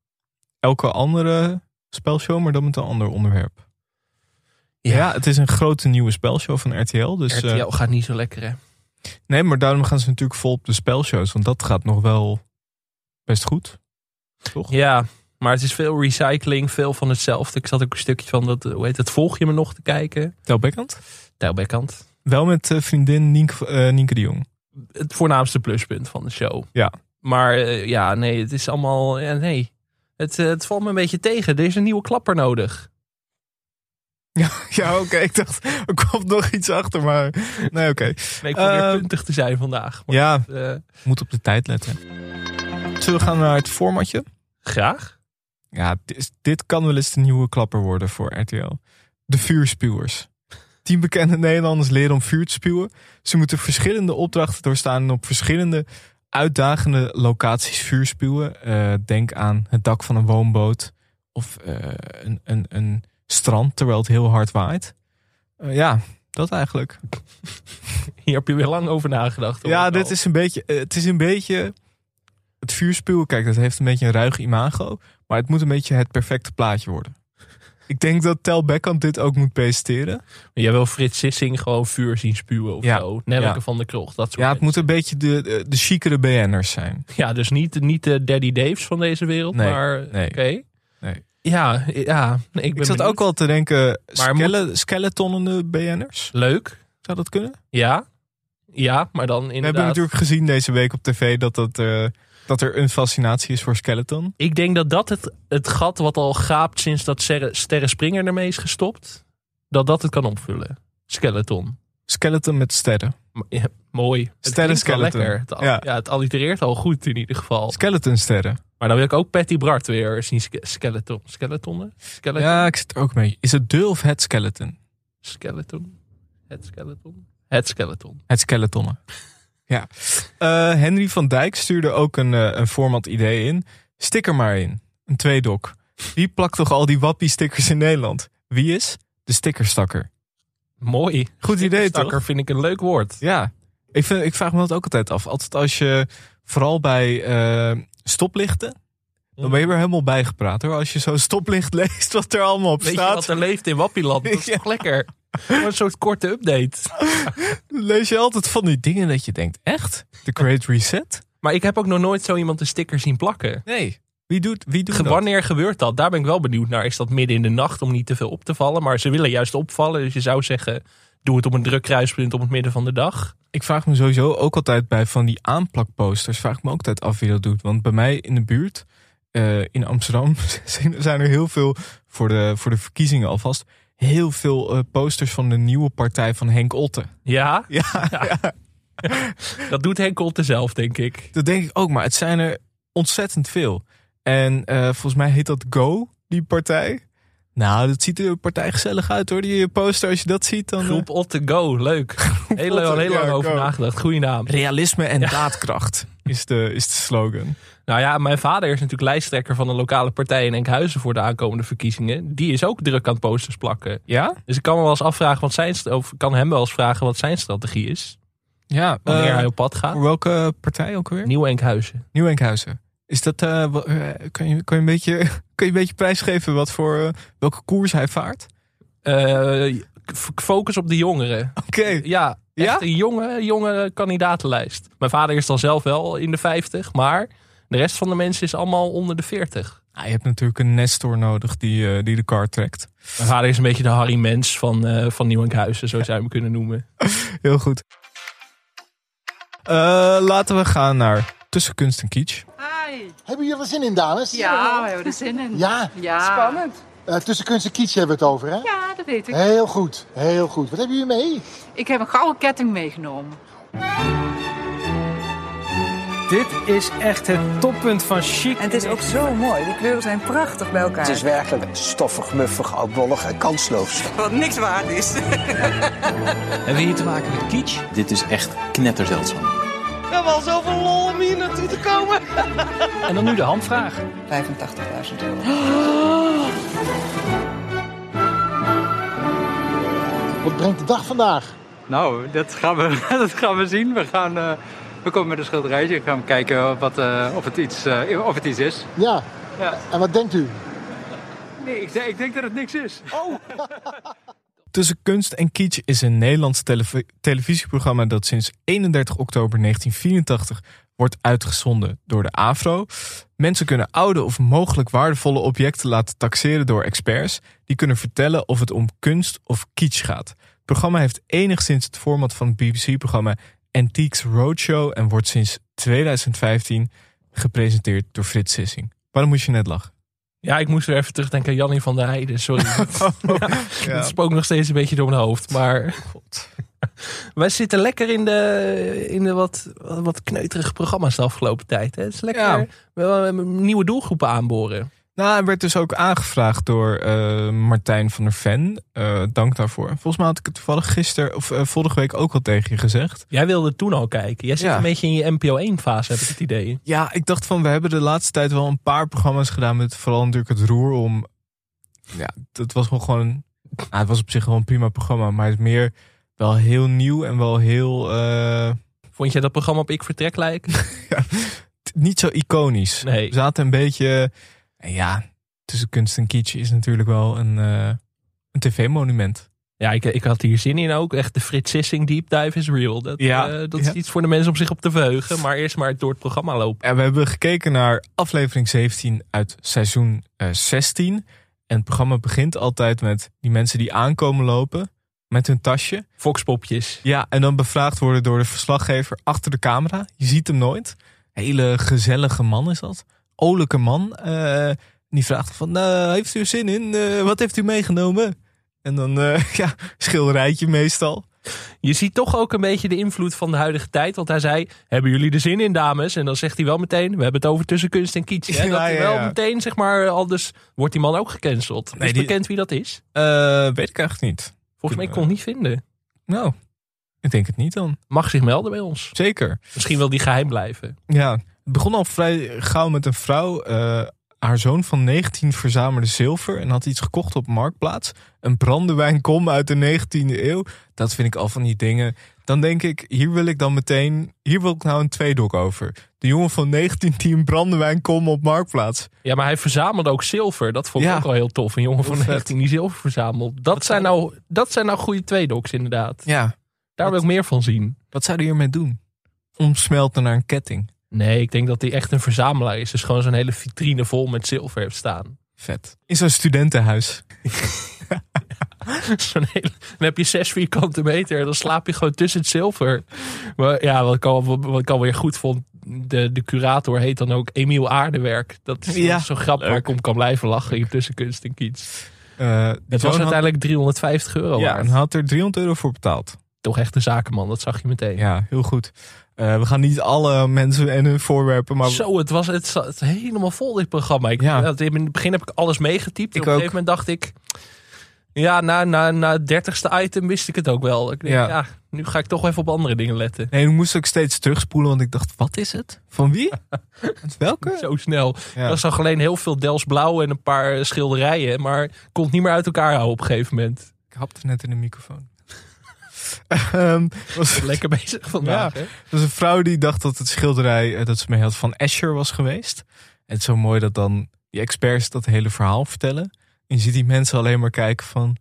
Speaker 2: elke andere spelshow, maar dan met een ander onderwerp. Ja, het is een grote nieuwe spelshow van RTL. Dus, eh,
Speaker 1: RTL gaat niet zo lekker, hè?
Speaker 2: nee, maar daarom gaan ze natuurlijk vol op de spelshows. Want dat gaat nog wel best goed. Toch?
Speaker 1: Ja, maar het is veel recycling, veel van hetzelfde. Ik zat ook een stukje van dat, eh, hoe heet het, volg je me nog te kijken?
Speaker 2: Tel Bekkant.
Speaker 1: Tijl Bekkant.
Speaker 2: Wel met eh, vriendin Nienke, eh, Nienke de Jong.
Speaker 1: Het voornaamste pluspunt van de show.
Speaker 2: Ja.
Speaker 1: Maar eh, ja, nee, het is allemaal, ja, nee. Het, eh, het valt me een beetje tegen. Er is een nieuwe klapper nodig.
Speaker 2: Ja, oké. Ik dacht, er komt nog iets achter, maar... Nee, oké.
Speaker 1: Nee, ik probeer
Speaker 2: Eh,
Speaker 1: puntig te zijn vandaag. maar,
Speaker 2: Ja,
Speaker 1: eh,
Speaker 2: moet op de tijd letten. Zullen we gaan naar het formatje?
Speaker 1: graag.
Speaker 2: Ja, dit, is- dit kan wel eens de nieuwe klapper worden voor RTL. De vuurspuwers. Tien bekende Nederlanders leren om vuur te spuwen. Ze moeten verschillende opdrachten doorstaan en op verschillende uitdagende locaties vuur spuwen. Eh, denk aan het dak van een woonboot of eh, een, een, een strand terwijl het heel hard waait. Eh, ja, dat eigenlijk.
Speaker 1: Hier heb je weer lang over nagedacht. hoor
Speaker 2: Ja,
Speaker 1: ik al.
Speaker 2: dit is een beetje. eh, Het is een beetje. Het vuurspuwen, kijk, dat heeft een beetje een ruig imago. Maar het moet een beetje het perfecte plaatje worden. Ik denk dat Tel Beckham dit ook moet presenteren.
Speaker 1: Jij Oh. wil Frits Sissing gewoon vuur zien spuwen of
Speaker 2: Ja,
Speaker 1: zo. Nelke
Speaker 2: ja.
Speaker 1: van der Krocht, dat soort
Speaker 2: Ja, het moet
Speaker 1: mensen.
Speaker 2: een beetje de, eh, de, de chicere BN'ers zijn.
Speaker 1: Ja, dus niet, niet de Daddy Daves van deze wereld,
Speaker 2: Nee,
Speaker 1: maar
Speaker 2: nee.
Speaker 1: oké.
Speaker 2: Nee.
Speaker 1: Ja, ja nee, ik ben
Speaker 2: Ik zat
Speaker 1: benieuwd.
Speaker 2: ook al te denken,
Speaker 1: Maar moet-
Speaker 2: skele, skeletonende BN'ers?
Speaker 1: Leuk,
Speaker 2: Zou dat kunnen?
Speaker 1: ja. Ja, maar dan
Speaker 2: We hebben
Speaker 1: inderdaad...
Speaker 2: natuurlijk gezien deze week op tv dat, dat, eh, dat er een fascinatie is voor skeleton.
Speaker 1: Ik denk dat dat het, het gat wat al gaapt sinds dat Serre- Sterre Springer ermee is gestopt, dat dat het kan opvullen. Skeleton.
Speaker 2: Skeleton met sterren.
Speaker 1: M- ja, mooi. Het
Speaker 2: Sterren
Speaker 1: klinkt wel
Speaker 2: skeleton.
Speaker 1: lekker. Het, al-
Speaker 2: Ja.
Speaker 1: ja. het allitereert al goed in ieder geval.
Speaker 2: Skeleton sterren.
Speaker 1: Maar dan wil ik ook Patty Bart weer zien. ske- Skeleton. Skeletonnen? Skeleton?
Speaker 2: Ja, ik zit er ook mee. Is het de of het skeleton?
Speaker 1: Skeleton. Het skeleton. Het skeleton.
Speaker 2: Het skeletonnen. Ja. Eh, Henry van Dijk stuurde ook een, eh, een format idee in. Stik er maar in. Een tweedok. Wie plakt toch al die wappie stickers in Nederland? Wie is? De stickerstakker.
Speaker 1: Mooi.
Speaker 2: Goed idee toch?
Speaker 1: Stakker vind ik een leuk woord.
Speaker 2: Ja. Ik, vind, ik vraag me dat ook altijd af. Altijd als je, vooral bij eh, stoplichten, dan ben je weer helemaal bijgepraat hoor. Als je zo'n stoplicht leest wat er allemaal op
Speaker 1: Weet je
Speaker 2: staat,
Speaker 1: wat er leeft in Wappieland? Dat is
Speaker 2: Ja.
Speaker 1: toch lekker? Gewoon Een soort korte update.
Speaker 2: lees je altijd van die dingen dat je denkt, echt? De Great Reset?
Speaker 1: Maar ik heb ook nog nooit zo iemand een sticker zien plakken.
Speaker 2: Nee. Wie doet, wie doet
Speaker 1: Ge-
Speaker 2: dat?
Speaker 1: Wanneer gebeurt dat? Daar ben ik wel benieuwd naar. Is dat midden in de nacht om niet te veel op te vallen? Maar ze willen juist opvallen. Dus je zou zeggen, doe het op een druk kruispunt op het midden van de dag.
Speaker 2: Ik vraag me sowieso ook altijd bij van die aanplakposters. Vraag ik me ook altijd af wie dat doet. Want bij mij in de buurt, eh, in Amsterdam, zijn- zijn er heel veel, voor de, voor de verkiezingen alvast, heel veel eh, posters van de nieuwe partij van Henk Otten.
Speaker 1: Ja,
Speaker 2: Ja,
Speaker 1: dat doet Henk Otte zelf, denk ik.
Speaker 2: dat denk ik ook. Maar het zijn er ontzettend veel. En eh, volgens mij heet dat Go, die partij. Nou, dat ziet er partij gezellig uit hoor. Die eh, poster, als je dat ziet, dan... eh,
Speaker 1: Groep Otte Go, leuk. Heel, lang- heel lang
Speaker 2: Ja,
Speaker 1: over
Speaker 2: go.
Speaker 1: nagedacht. Goeie naam.
Speaker 2: Realisme en daadkracht is de, is de slogan.
Speaker 1: Nou ja, mijn vader is natuurlijk lijsttrekker van een lokale partij in Enkhuizen voor de aankomende verkiezingen. Die is ook druk aan het posters plakken.
Speaker 2: Ja?
Speaker 1: Dus ik kan me wel eens afvragen wat zijn, st- of kan hem wel eens vragen wat zijn strategie is.
Speaker 2: Ja.
Speaker 1: Wanneer
Speaker 2: eh,
Speaker 1: hij op pad gaat.
Speaker 2: Voor welke partij ook alweer?
Speaker 1: Nieuw Enkhuizen.
Speaker 2: Nieuw Enkhuizen. Is dat, eh, wa- eh, kan, je, kan, je een beetje, kan je een beetje prijsgeven wat voor, eh, welke koers hij vaart?
Speaker 1: Eh, f- focus op de jongeren.
Speaker 2: Oké,
Speaker 1: Ja, echt
Speaker 2: Ja?
Speaker 1: een jonge, jonge kandidatenlijst. Mijn vader is dan zelf wel in de 50, maar de rest van de mensen is allemaal onder de 40.
Speaker 2: Ah, je hebt natuurlijk een Nestor nodig die, eh, die de kar trekt.
Speaker 1: Mijn vader is een beetje de Harry Mens van, eh van Nieuw Enkhuizen, zo zou je hem kunnen noemen.
Speaker 2: Heel goed. Eh, laten we gaan naar Tussen Kunst en Kitsch.
Speaker 8: Hebben jullie er zin in, dames?
Speaker 9: Ja, we hebben er zin in.
Speaker 8: Ja,
Speaker 9: Spannend.
Speaker 8: eh, tussen kunst en kiets hebben we het over, hè?
Speaker 9: Ja, dat weet ik.
Speaker 8: Heel goed, heel goed. Wat hebben jullie mee?
Speaker 9: Ik heb een gouden ketting meegenomen.
Speaker 10: Dit is echt het toppunt van chic.
Speaker 11: En het is ook zo mooi. Die kleuren zijn prachtig bij elkaar.
Speaker 12: Het is werkelijk stoffig, muffig, oudbollig en kansloos.
Speaker 11: wat niks waard is.
Speaker 12: Hebben we hier te maken met kitsch? Dit is echt knetterzeldzaam.
Speaker 11: We hebben al zoveel lol om hier naartoe te komen.
Speaker 10: En dan nu de hamvraag.
Speaker 11: 85.000 euro.
Speaker 8: Wat brengt de dag vandaag?
Speaker 4: Nou, dat gaan we, dat gaan we zien. We, gaan, eh, we komen met een schilderijtje. We gaan kijken wat, eh, of, het iets, eh, of het iets is.
Speaker 8: Ja.
Speaker 4: Ja.
Speaker 8: En wat denkt u?
Speaker 13: Nee, ik, denk- ik denk dat het niks is. Oh!
Speaker 2: Tussen Kunst en Kitsch is een Nederlands televi- televisieprogramma dat sinds 31 oktober 1984 wordt uitgezonden door de AFRO. Mensen kunnen oude of mogelijk waardevolle objecten laten taxeren door experts. Die kunnen vertellen of het om kunst of kitsch gaat. Het programma heeft enigszins het format van het BBC-programma Antiques Roadshow en wordt sinds 2015 gepresenteerd door Frits Sissing. Waarom moest je net lachen?
Speaker 1: Ja, ik moest weer even terugdenken aan Jannie van der Heijden. Sorry.
Speaker 2: Ja. Oh,
Speaker 1: Dat spookt nog steeds een beetje door mijn hoofd. Maar wij zitten lekker in de, in de wat, wat kneuterige programma's de afgelopen tijd. Hè? Het is lekker
Speaker 2: Ja.
Speaker 1: wel, eh, nieuwe doelgroepen aanboren.
Speaker 2: Nou, hij werd dus ook aangevraagd door eh, Martijn van der Ven. Eh, dank daarvoor. Volgens mij had ik het toevallig gisteren of eh, vorige week ook al tegen je gezegd.
Speaker 1: Jij wilde toen al kijken. Jij zit
Speaker 2: Ja.
Speaker 1: een beetje in je NPO 1 fase, heb ik het idee.
Speaker 2: Ja, ik dacht van, we hebben de laatste tijd wel een paar programma's gedaan met vooral natuurlijk het roer om... Ja, dat was wel gewoon... Ah, het was op zich wel een prima programma, maar het is meer wel heel nieuw en wel heel... eh,
Speaker 1: Vond jij dat programma op Ik Vertrek lijken?
Speaker 2: niet zo iconisch.
Speaker 1: Nee.
Speaker 2: We zaten een beetje... en Ja, tussen kunst en kitsch is natuurlijk wel een, eh, een tv-monument.
Speaker 1: Ja, ik, ik had hier zin in ook. Echt de Frits Sissing Deep Dive is real. Dat,
Speaker 2: Ja.
Speaker 1: eh, dat
Speaker 2: Ja.
Speaker 1: is iets voor de mensen om zich op te verheugen. Maar eerst maar door het programma lopen.
Speaker 2: En we hebben gekeken naar aflevering 17 uit seizoen eh, 16. En het programma begint altijd met die mensen die aankomen lopen met hun tasje.
Speaker 1: Foxpopjes.
Speaker 2: Ja, en dan bevraagd worden door de verslaggever achter de camera. Je ziet hem nooit. Hele gezellige man is dat. Olijke man. eh, die vraagt van, nou, heeft u er zin in? Eh, wat heeft u meegenomen? En dan, eh, ja, schilderijtje meestal.
Speaker 1: Je ziet toch ook een beetje de invloed van de huidige tijd. Want hij zei, hebben jullie er zin in dames? En dan zegt hij wel meteen, we hebben het over tussen kunst en kitsch. Hè?
Speaker 2: Ja,
Speaker 1: dat hij
Speaker 2: ja,
Speaker 1: wel
Speaker 2: ja.
Speaker 1: meteen, zeg maar, al dus wordt die man ook gecanceld.
Speaker 2: Nee,
Speaker 1: is
Speaker 2: die-
Speaker 1: bekend wie dat is?
Speaker 2: Eh, weet ik eigenlijk niet.
Speaker 1: Volgens mij kon ik het niet vinden.
Speaker 2: Nou, ik denk het niet dan.
Speaker 1: Mag zich melden bij ons.
Speaker 2: Zeker.
Speaker 1: Misschien wil die geheim blijven.
Speaker 2: Ja, het begon al vrij gauw met een vrouw. eh, haar zoon van 19 verzamelde zilver en had iets gekocht op Marktplaats. Een brandewijnkom uit de 19e eeuw. Dat vind ik al van die dingen. Dan denk ik, hier wil ik dan meteen... Hier wil ik nou een tweedok over. De jongen van 19 die een brandewijnkom op Marktplaats.
Speaker 1: Ja, maar hij verzamelde ook zilver. Dat vond ik
Speaker 2: Ja.
Speaker 1: ook wel heel tof. Een jongen van
Speaker 2: vet.
Speaker 1: 19 die zilver verzamelt. Dat, zijn, nou, dat zijn nou goede tweedoks inderdaad.
Speaker 2: Ja,
Speaker 1: Daar wil ik meer van zien.
Speaker 2: wat zou hij hiermee doen? Omsmelten naar een ketting.
Speaker 1: Nee, ik denk dat hij echt een verzamelaar is. Dus gewoon zo'n hele vitrine vol met zilver heeft staan.
Speaker 2: Vet. In zo'n studentenhuis.
Speaker 1: Zo'n hele- dan heb je zes vierkante meter. en Dan slaap je gewoon tussen het zilver. Maar ja, wat ik, al, wat ik alweer goed vond. De, de curator heet dan ook Emiel Aardewerk. Dat is
Speaker 2: Ja,
Speaker 1: zo'n grap waar
Speaker 2: leuk.
Speaker 1: ik om kan blijven lachen. in Tussen kunst en kiets.
Speaker 2: Eh, die
Speaker 1: Het
Speaker 2: zoon
Speaker 1: was
Speaker 2: had-
Speaker 1: uiteindelijk 350 euro
Speaker 2: Ja,
Speaker 1: waard.
Speaker 2: en had er 300 euro voor betaald.
Speaker 1: Toch echt een zakenman, dat zag je meteen.
Speaker 2: Ja, heel goed. Eh, we gaan niet alle mensen en hun voorwerpen, maar
Speaker 1: Zo, het was het zat helemaal vol dit programma. Ik,
Speaker 2: Ja.
Speaker 1: dat- In het begin heb ik alles meegetypt.
Speaker 2: Ik
Speaker 1: op een
Speaker 2: ook.
Speaker 1: gegeven moment dacht ik... Ja, na, na, na het dertigste item wist ik het ook wel. Ik denk, ja.
Speaker 2: Ja.
Speaker 1: nu ga ik toch even op andere dingen letten.
Speaker 2: nee, ik moest ook steeds terugspoelen, want ik dacht, wat is het? Van wie? Uit Welke?
Speaker 1: Zo snel.
Speaker 2: Ja.
Speaker 1: Dat zag alleen heel veel Dels Blauw en een paar eh, schilderijen. Maar ik kon het niet meer uit elkaar houden op een gegeven moment.
Speaker 2: Ik hapte net in de microfoon. Ehm, was,
Speaker 1: Lekker bezig vandaag.
Speaker 2: Ja.
Speaker 1: hè?
Speaker 2: er was een vrouw die dacht dat het schilderij eh, dat ze mee had van Escher was geweest. En het is zo mooi dat dan die experts dat hele verhaal vertellen. En je ziet die mensen alleen maar kijken van,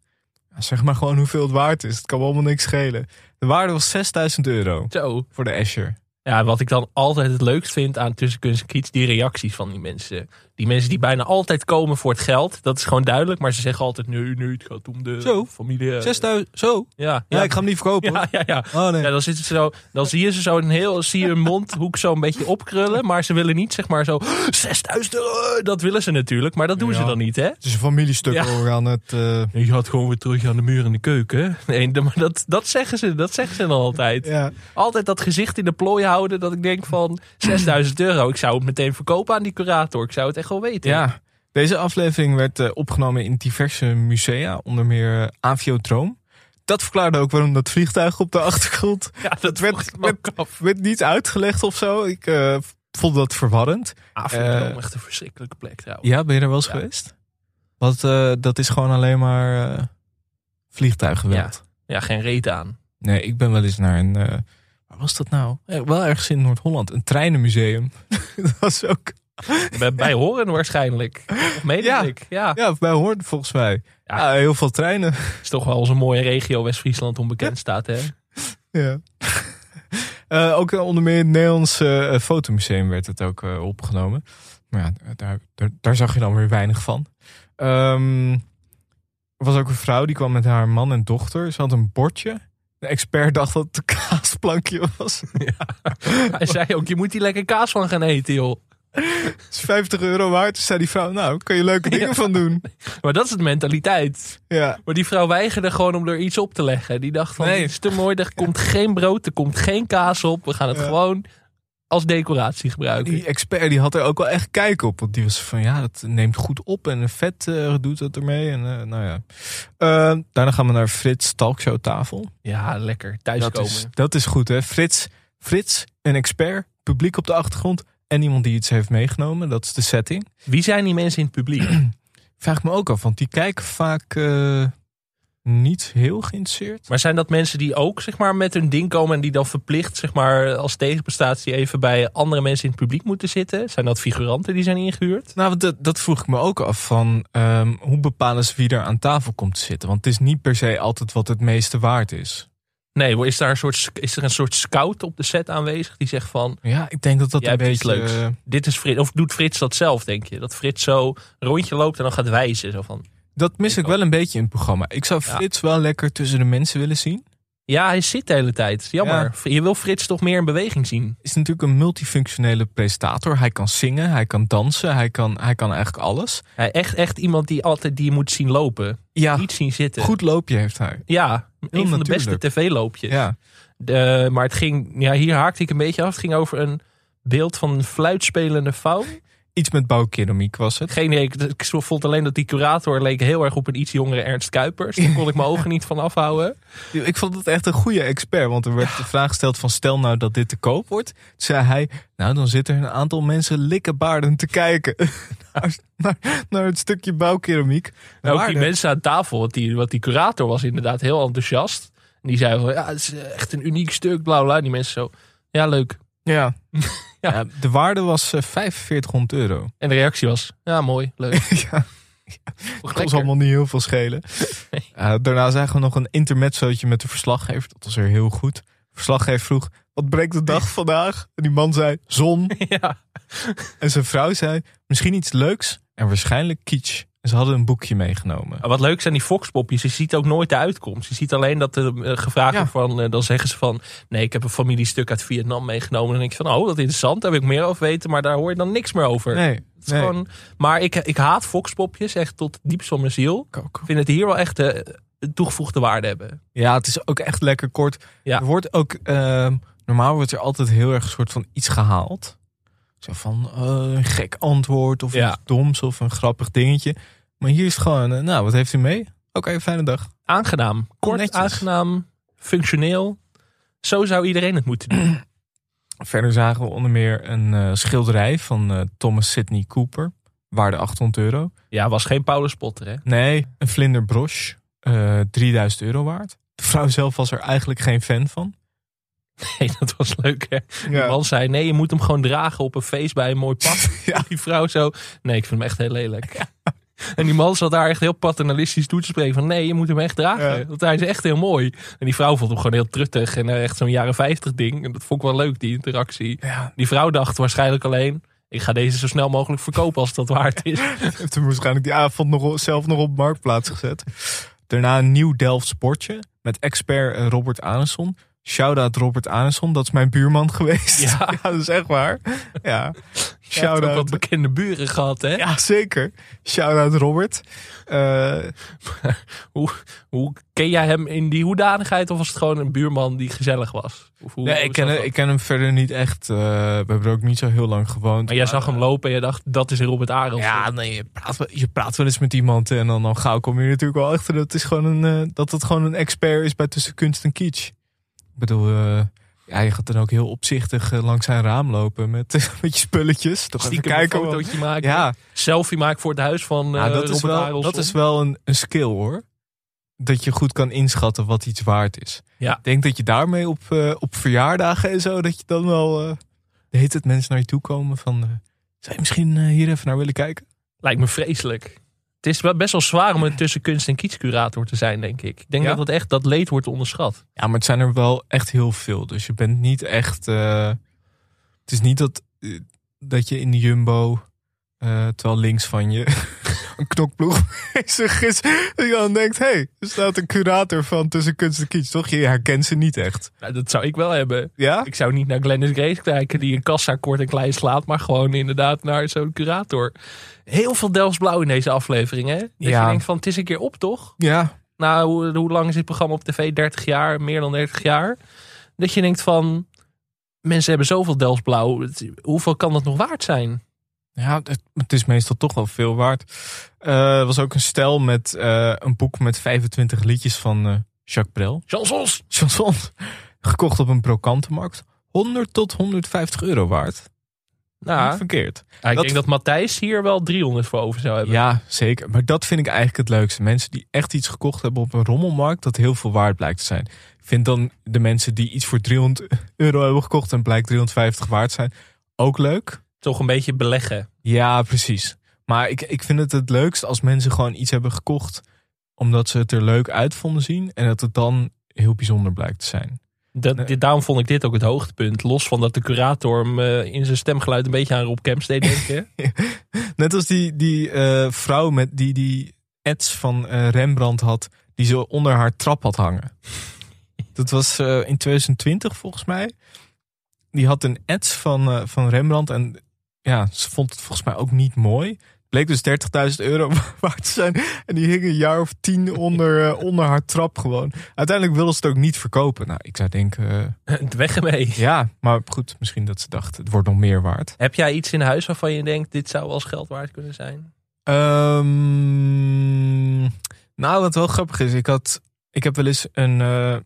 Speaker 2: ja, zeg maar gewoon hoeveel het waard is. Het kan me allemaal niks schelen. De waarde was 6000 euro
Speaker 1: Zo.
Speaker 2: voor de Escher.
Speaker 1: Ja, wat ik dan altijd het leukst vind aan Tussen Kunst en Kiets, die reacties van die mensen. Die mensen die bijna altijd komen voor het geld, dat is gewoon duidelijk. Maar ze zeggen altijd, nee, nee, het gaat om de
Speaker 2: Zo.
Speaker 1: familie. eh,
Speaker 2: 6000, zo?
Speaker 1: Ja,
Speaker 2: Ja, ik ga hem niet verkopen. hoor.
Speaker 1: Ja, ja, ja.
Speaker 2: Oh, nee.
Speaker 1: Ja, dan, zitten ze zo, dan zie je ze zo een heel, zie je hun mondhoek zo een beetje opkrullen. Maar ze willen niet zeg maar zo, 6000 euro, dat willen ze natuurlijk. Maar dat doen ze
Speaker 2: Ja.
Speaker 1: dan niet, hè?
Speaker 2: Het is een familiestuk
Speaker 1: Ja.
Speaker 2: hoor aan het. eh,
Speaker 1: Je gaat gewoon weer terug aan de muur in de keuken. Nee, de- maar dat, dat zeggen ze, dat zeggen ze dan altijd.
Speaker 2: ja.
Speaker 1: Altijd dat gezicht in de plooi houden dat ik denk van 6000 euro. Ik zou het meteen verkopen aan die curator. Ik zou het echt wel weten.
Speaker 2: ja. Deze aflevering werd eh, opgenomen in diverse musea, onder meer eh, Aviodroom. Dat verklaarde ook waarom dat vliegtuig op de achtergrond.
Speaker 1: Ja, dat, vroeg ik me
Speaker 2: werd,
Speaker 1: ook af.
Speaker 2: werd niet uitgelegd of zo. Ik eh, vond dat verwarrend.
Speaker 1: Afrika,
Speaker 2: Eh,
Speaker 1: Ah, echt een verschrikkelijke plek trouwens.
Speaker 2: ja, ben je er wel eens
Speaker 1: Ja.
Speaker 2: geweest? Want eh, dat is gewoon alleen maar eh, vliegtuiggeweld.
Speaker 1: Ja, geen reet aan.
Speaker 2: Nee, ik ben wel eens naar een. eh, waar was dat nou? Eh, wel ergens in Noord-Holland. Een treinenmuseum. dat was ook
Speaker 1: Bij, bij Horen waarschijnlijk. Of meen
Speaker 2: Ja.
Speaker 1: ik. Ja.
Speaker 2: Ja, bij Hoorn volgens mij. Ja, heel veel treinen.
Speaker 1: is toch wel onze mooie regio West-Friesland onbekend staat, hè?
Speaker 2: Ja. Eh, ook eh, onder meer in het Nederlands eh, Fotomuseum werd het ook eh, opgenomen. Maar ja, daar, daar, daar zag je dan weer weinig van. Ehm, er was ook een vrouw die kwam met haar man en dochter. Ze had een bordje. De expert dacht dat het een kaasplankje was.
Speaker 1: Hij zei ook, je moet hier lekker kaas van gaan eten, joh.
Speaker 2: Het is 50 euro waard. Toen zei die vrouw, nou, kun je leuke dingen van doen.
Speaker 1: Maar dat is het mentaliteit.
Speaker 2: Ja.
Speaker 1: Maar die vrouw weigerde gewoon om er iets op te leggen. Die dacht van,
Speaker 2: Nee.
Speaker 1: dit is te mooi, er komt geen brood, er komt geen kaas op. We gaan het gewoon als decoratie gebruiken.
Speaker 2: Die expert die had er ook wel echt kijk op. Want die was van ja, dat neemt goed op en vet eh, doet dat ermee. En, eh, nou ja. Eh, daarna gaan we naar Frits Talkshow tafel.
Speaker 1: Ja, lekker.
Speaker 2: Dat
Speaker 1: Thuiskomen.
Speaker 2: is, dat is goed hè. Frits, Frits, een expert, publiek op de achtergrond en iemand die iets heeft meegenomen. Dat is de setting.
Speaker 1: Wie zijn die mensen in het publiek?
Speaker 2: Vraag ik me ook af, want die kijken vaak eh, niet heel geïnteresseerd.
Speaker 1: Maar zijn dat mensen die ook zeg maar, met hun ding komen en die dan verplicht zeg maar, als tegenprestatie even bij andere mensen in het publiek moeten zitten? Zijn dat figuranten die zijn ingehuurd?
Speaker 2: Nou, want dat, dat vroeg ik me ook af van ehm, hoe bepalen ze wie er aan tafel komt te zitten? Want het is niet per se altijd wat het meeste waard is.
Speaker 1: Nee, is, daar een soort, is er een soort scout op de set aanwezig die zegt van...
Speaker 2: Ja, ik denk dat dat
Speaker 1: jij
Speaker 2: een
Speaker 1: hebt iets
Speaker 2: beetje...
Speaker 1: leuks.
Speaker 2: eh,
Speaker 1: Dit is Frits, of doet Frits dat zelf, denk je? Dat Frits zo een rondje loopt en dan gaat wijzen. Zo van,
Speaker 2: Dat mis ik wel een beetje in het programma. Ik zou
Speaker 1: Ja.
Speaker 2: Frits wel lekker tussen de mensen willen zien.
Speaker 1: ja, hij zit de hele tijd. Jammer. Je wil Frits toch meer in beweging zien?
Speaker 2: Is natuurlijk een multifunctionele presentator. Hij kan zingen, hij kan dansen, hij kan, hij kan eigenlijk alles.
Speaker 1: Hij echt, echt iemand die altijd die je moet zien lopen.
Speaker 2: Ja.
Speaker 1: Niet zien zitten.
Speaker 2: Goed loopje heeft hij.
Speaker 1: Ja, een van de
Speaker 2: natuurlijk.
Speaker 1: beste tv-loopjes.
Speaker 2: Ja.
Speaker 1: De- maar het ging, ja, hier haakte ik een beetje af. Het ging over een beeld van een fluitspelende faun.
Speaker 2: Iets met bouwkeramiek was het.
Speaker 1: Geen idee, ik, ik vond alleen dat die curator leek heel erg op een iets jongere Ernst Kuipers. Daar kon ik mijn ogen niet van afhouden.
Speaker 2: Ik vond het echt een goede expert. Want er werd de vraag gesteld van stel nou dat dit te koop wordt. Toen zei hij, nou dan zitten er een aantal mensen likkenbaardend te kijken. naar, naar, naar het stukje bouwkeramiek.
Speaker 1: En Nou, ook die
Speaker 2: Waarde.
Speaker 1: mensen aan tafel, want die, want die curator was inderdaad heel enthousiast. En die zei van, ja, het is eh, echt een uniek stuk, bla bla. En Die mensen zo, ja leuk.
Speaker 2: Ja. ja. de waarde was eh, 4500 euro.
Speaker 1: En de reactie was, ja mooi, leuk.
Speaker 2: ja. Het kon ze allemaal niet heel veel schelen. Eh, daarna zagen we nog een intermezzootje met de verslaggever. Dat was er heel goed. De verslaggever vroeg, wat breekt de dag vandaag? En die man zei, zon.
Speaker 1: Ja.
Speaker 2: En zijn vrouw zei, misschien iets leuks en waarschijnlijk kitsch. En ze hadden een boekje meegenomen.
Speaker 1: Maar Wat leuk zijn die foxpopjes. Je ziet ook nooit de uitkomst. Je ziet alleen dat er eh, gevraagd wordt van... eh, dan zeggen ze van... nee, ik heb een familiestuk uit Vietnam meegenomen. En dan denk je van... oh, dat is interessant. Daar wil ik meer over weten. Maar daar hoor je dan niks meer over.
Speaker 2: Nee,
Speaker 1: Het is
Speaker 2: nee.
Speaker 1: Gewoon, maar ik, ik haat foxpopjes echt tot het diepst van mijn ziel.
Speaker 2: ook.
Speaker 1: Ik vind het hier wel echt eh, een toegevoegde waarde hebben.
Speaker 2: Ja, het is ook echt lekker kort.
Speaker 1: Ja.
Speaker 2: Er wordt ook, ehm, normaal wordt er altijd heel erg een soort van iets gehaald. Zo van eh, een gek antwoord of
Speaker 1: Ja.
Speaker 2: iets doms of een grappig dingetje. Maar hier is het gewoon, eh, nou, wat heeft u mee? Oké, fijne dag.
Speaker 1: Aangenaam. Kort,
Speaker 2: Netjes.
Speaker 1: aangenaam. Functioneel. Zo zou iedereen het moeten doen.
Speaker 2: Verder zagen we onder meer een eh, schilderij van eh, Thomas Sidney Cooper. Waarde 800 euro.
Speaker 1: Ja, was geen Paulus Potter, hè?
Speaker 2: Nee, een vlinderbroche. eh 3000 euro waard. De vrouw zelf was er eigenlijk geen fan van.
Speaker 1: Nee, dat was leuk, hè?
Speaker 2: Ja.
Speaker 1: Die man zei, nee, je moet hem gewoon dragen op een feest bij een mooi pak.
Speaker 2: Ja.
Speaker 1: Die vrouw zo, nee, ik vind hem echt heel lelijk. En die man zat daar echt heel paternalistisch toe te spreken van... nee, je moet hem echt dragen,
Speaker 2: Ja.
Speaker 1: want hij is echt heel mooi. En die vrouw vond hem gewoon heel truttig en eh, echt zo'n jaren 50 ding. En dat vond ik wel leuk, die interactie.
Speaker 2: Ja.
Speaker 1: Die vrouw dacht waarschijnlijk alleen... ik ga deze zo snel mogelijk verkopen als dat waard is.
Speaker 2: Heeft hem waarschijnlijk die avond nog, op- zelf nog op marktplaats gezet. Daarna een nieuw Delft sportje met expert eh, Robert Aneson. Shout-out Robert Aneson, dat is mijn buurman geweest.
Speaker 1: Ja.
Speaker 2: dat is echt waar. Ja,
Speaker 1: Hij heeft ook
Speaker 2: shout-out.
Speaker 1: wat bekende buren gehad, hè?
Speaker 2: Ja, zeker. Shout-out Robert. Eh,
Speaker 1: Hoe, hoe ken jij hem in die hoedanigheid... of was het gewoon een buurman die gezellig was? Of hoe-
Speaker 2: nee,
Speaker 1: hoe
Speaker 2: ik
Speaker 1: zat
Speaker 2: ken, hem-
Speaker 1: dat?
Speaker 2: ik ken hem verder niet echt. eh, we hebben er ook niet zo heel lang gewoond.
Speaker 1: Maar jij zag hem lopen en je dacht, dat is Robert Arend.
Speaker 2: Ja, nee, je praat, wel- je praat wel eens met iemand en dan, dan gauw kom je natuurlijk wel achter dat het, is gewoon een, eh, dat het gewoon een expert is bij tussen kunst en kitsch. Ik bedoel, eh, ja, je gaat dan ook heel opzichtig eh, langs zijn raam lopen met, met je spulletjes. Toch even
Speaker 1: Stiekem
Speaker 2: kijken.
Speaker 1: een
Speaker 2: wat-
Speaker 1: fotootje maken.
Speaker 2: ja,
Speaker 1: Selfie maken voor het huis van
Speaker 2: nou,
Speaker 1: eh,
Speaker 2: dat, is
Speaker 1: Robert
Speaker 2: wel,
Speaker 1: Arendson.
Speaker 2: dat is wel een, een skill hoor. Dat je goed kan inschatten wat iets waard is.
Speaker 1: Ja.
Speaker 2: Ik denk dat je daarmee op, eh, op verjaardagen en zo, dat je dan wel. eh de heet het mensen naar je toe komen van. eh, Zou je misschien eh, hier even naar willen kijken?
Speaker 1: Lijkt me vreselijk. Het is wel best wel zwaar om er tussen kunst- en kietscurator te zijn, denk ik. Ik denk
Speaker 2: Ja?
Speaker 1: dat dat echt dat leed wordt onderschat.
Speaker 2: Ja, maar het zijn er wel echt heel veel. Dus je bent niet echt. eh, het is niet dat, eh, dat je in de jumbo. eh, terwijl links van je een knokploeg bezig is. Dat je dan denkt: hé, hey, er staat een curator van tussen kunst en kiets. Toch? Je herkent ze niet echt.
Speaker 1: Nou, dat zou ik wel hebben.
Speaker 2: Ja?
Speaker 1: Ik zou niet naar Glennis Grace kijken die een kassa kort en klein slaat, maar gewoon inderdaad naar zo'n curator. Heel veel Delfts Blauw in deze aflevering, hè? Dat
Speaker 2: Ja.
Speaker 1: je denkt van, het is een keer op, toch?
Speaker 2: Ja.
Speaker 1: Nou, hoe, hoe lang is dit programma op tv? 30 jaar, meer dan 30 jaar. Dat je denkt van, mensen hebben zoveel Delfts Blauw. het- Hoeveel kan dat nog waard zijn?
Speaker 2: Ja, het, het is meestal toch wel veel waard. Eh, er was ook een stel met eh, een boek met 25 liedjes van eh, Jacques Brel.
Speaker 1: Chansons!
Speaker 2: Chansons. Gekocht op een brokantenmarkt. 100 tot 150 euro waard.
Speaker 1: Nou,
Speaker 2: Niet verkeerd.
Speaker 1: Ja, ik
Speaker 2: Dat-
Speaker 1: denk dat Matthijs hier wel 300 voor over zou hebben.
Speaker 2: Ja, zeker. Maar dat vind ik eigenlijk het leukste. Mensen die echt iets gekocht hebben op een rommelmarkt, dat heel veel waard blijkt te zijn. Ik vind dan de mensen die iets voor 300 euro hebben gekocht en blijkt 350 waard zijn, ook leuk.
Speaker 1: Toch een beetje beleggen.
Speaker 2: Ja, precies. Maar ik, ik vind het het leukst als mensen gewoon iets hebben gekocht omdat ze het er leuk uit vonden zien en dat het dan heel bijzonder blijkt te zijn.
Speaker 1: Dat, dit, daarom vond ik dit ook het hoogtepunt. Los van dat de curator hem eh, in zijn stemgeluid een beetje aan Rob Camps deed denken.
Speaker 2: Net als die, die eh, vrouw met die die ads van eh, Rembrandt had, die ze onder haar trap had hangen. Dat was eh, in 2020 volgens mij. Die had een ads van, eh, van Rembrandt en ja, ze vond het volgens mij ook niet mooi. Bleek dus 30.000 euro waard te zijn. En die hing een jaar of tien onder, eh, onder haar trap gewoon. Uiteindelijk wilden ze het ook niet verkopen. Nou, ik zou denken... eh,
Speaker 1: Weg ermee.
Speaker 2: ja, maar goed, misschien dat ze dachten, het wordt nog meer waard.
Speaker 1: Heb jij iets in huis waarvan je denkt, dit zou als geld waard kunnen zijn?
Speaker 2: Ehm, nou, wat wel grappig is, ik had, ik heb wel eens een, eh,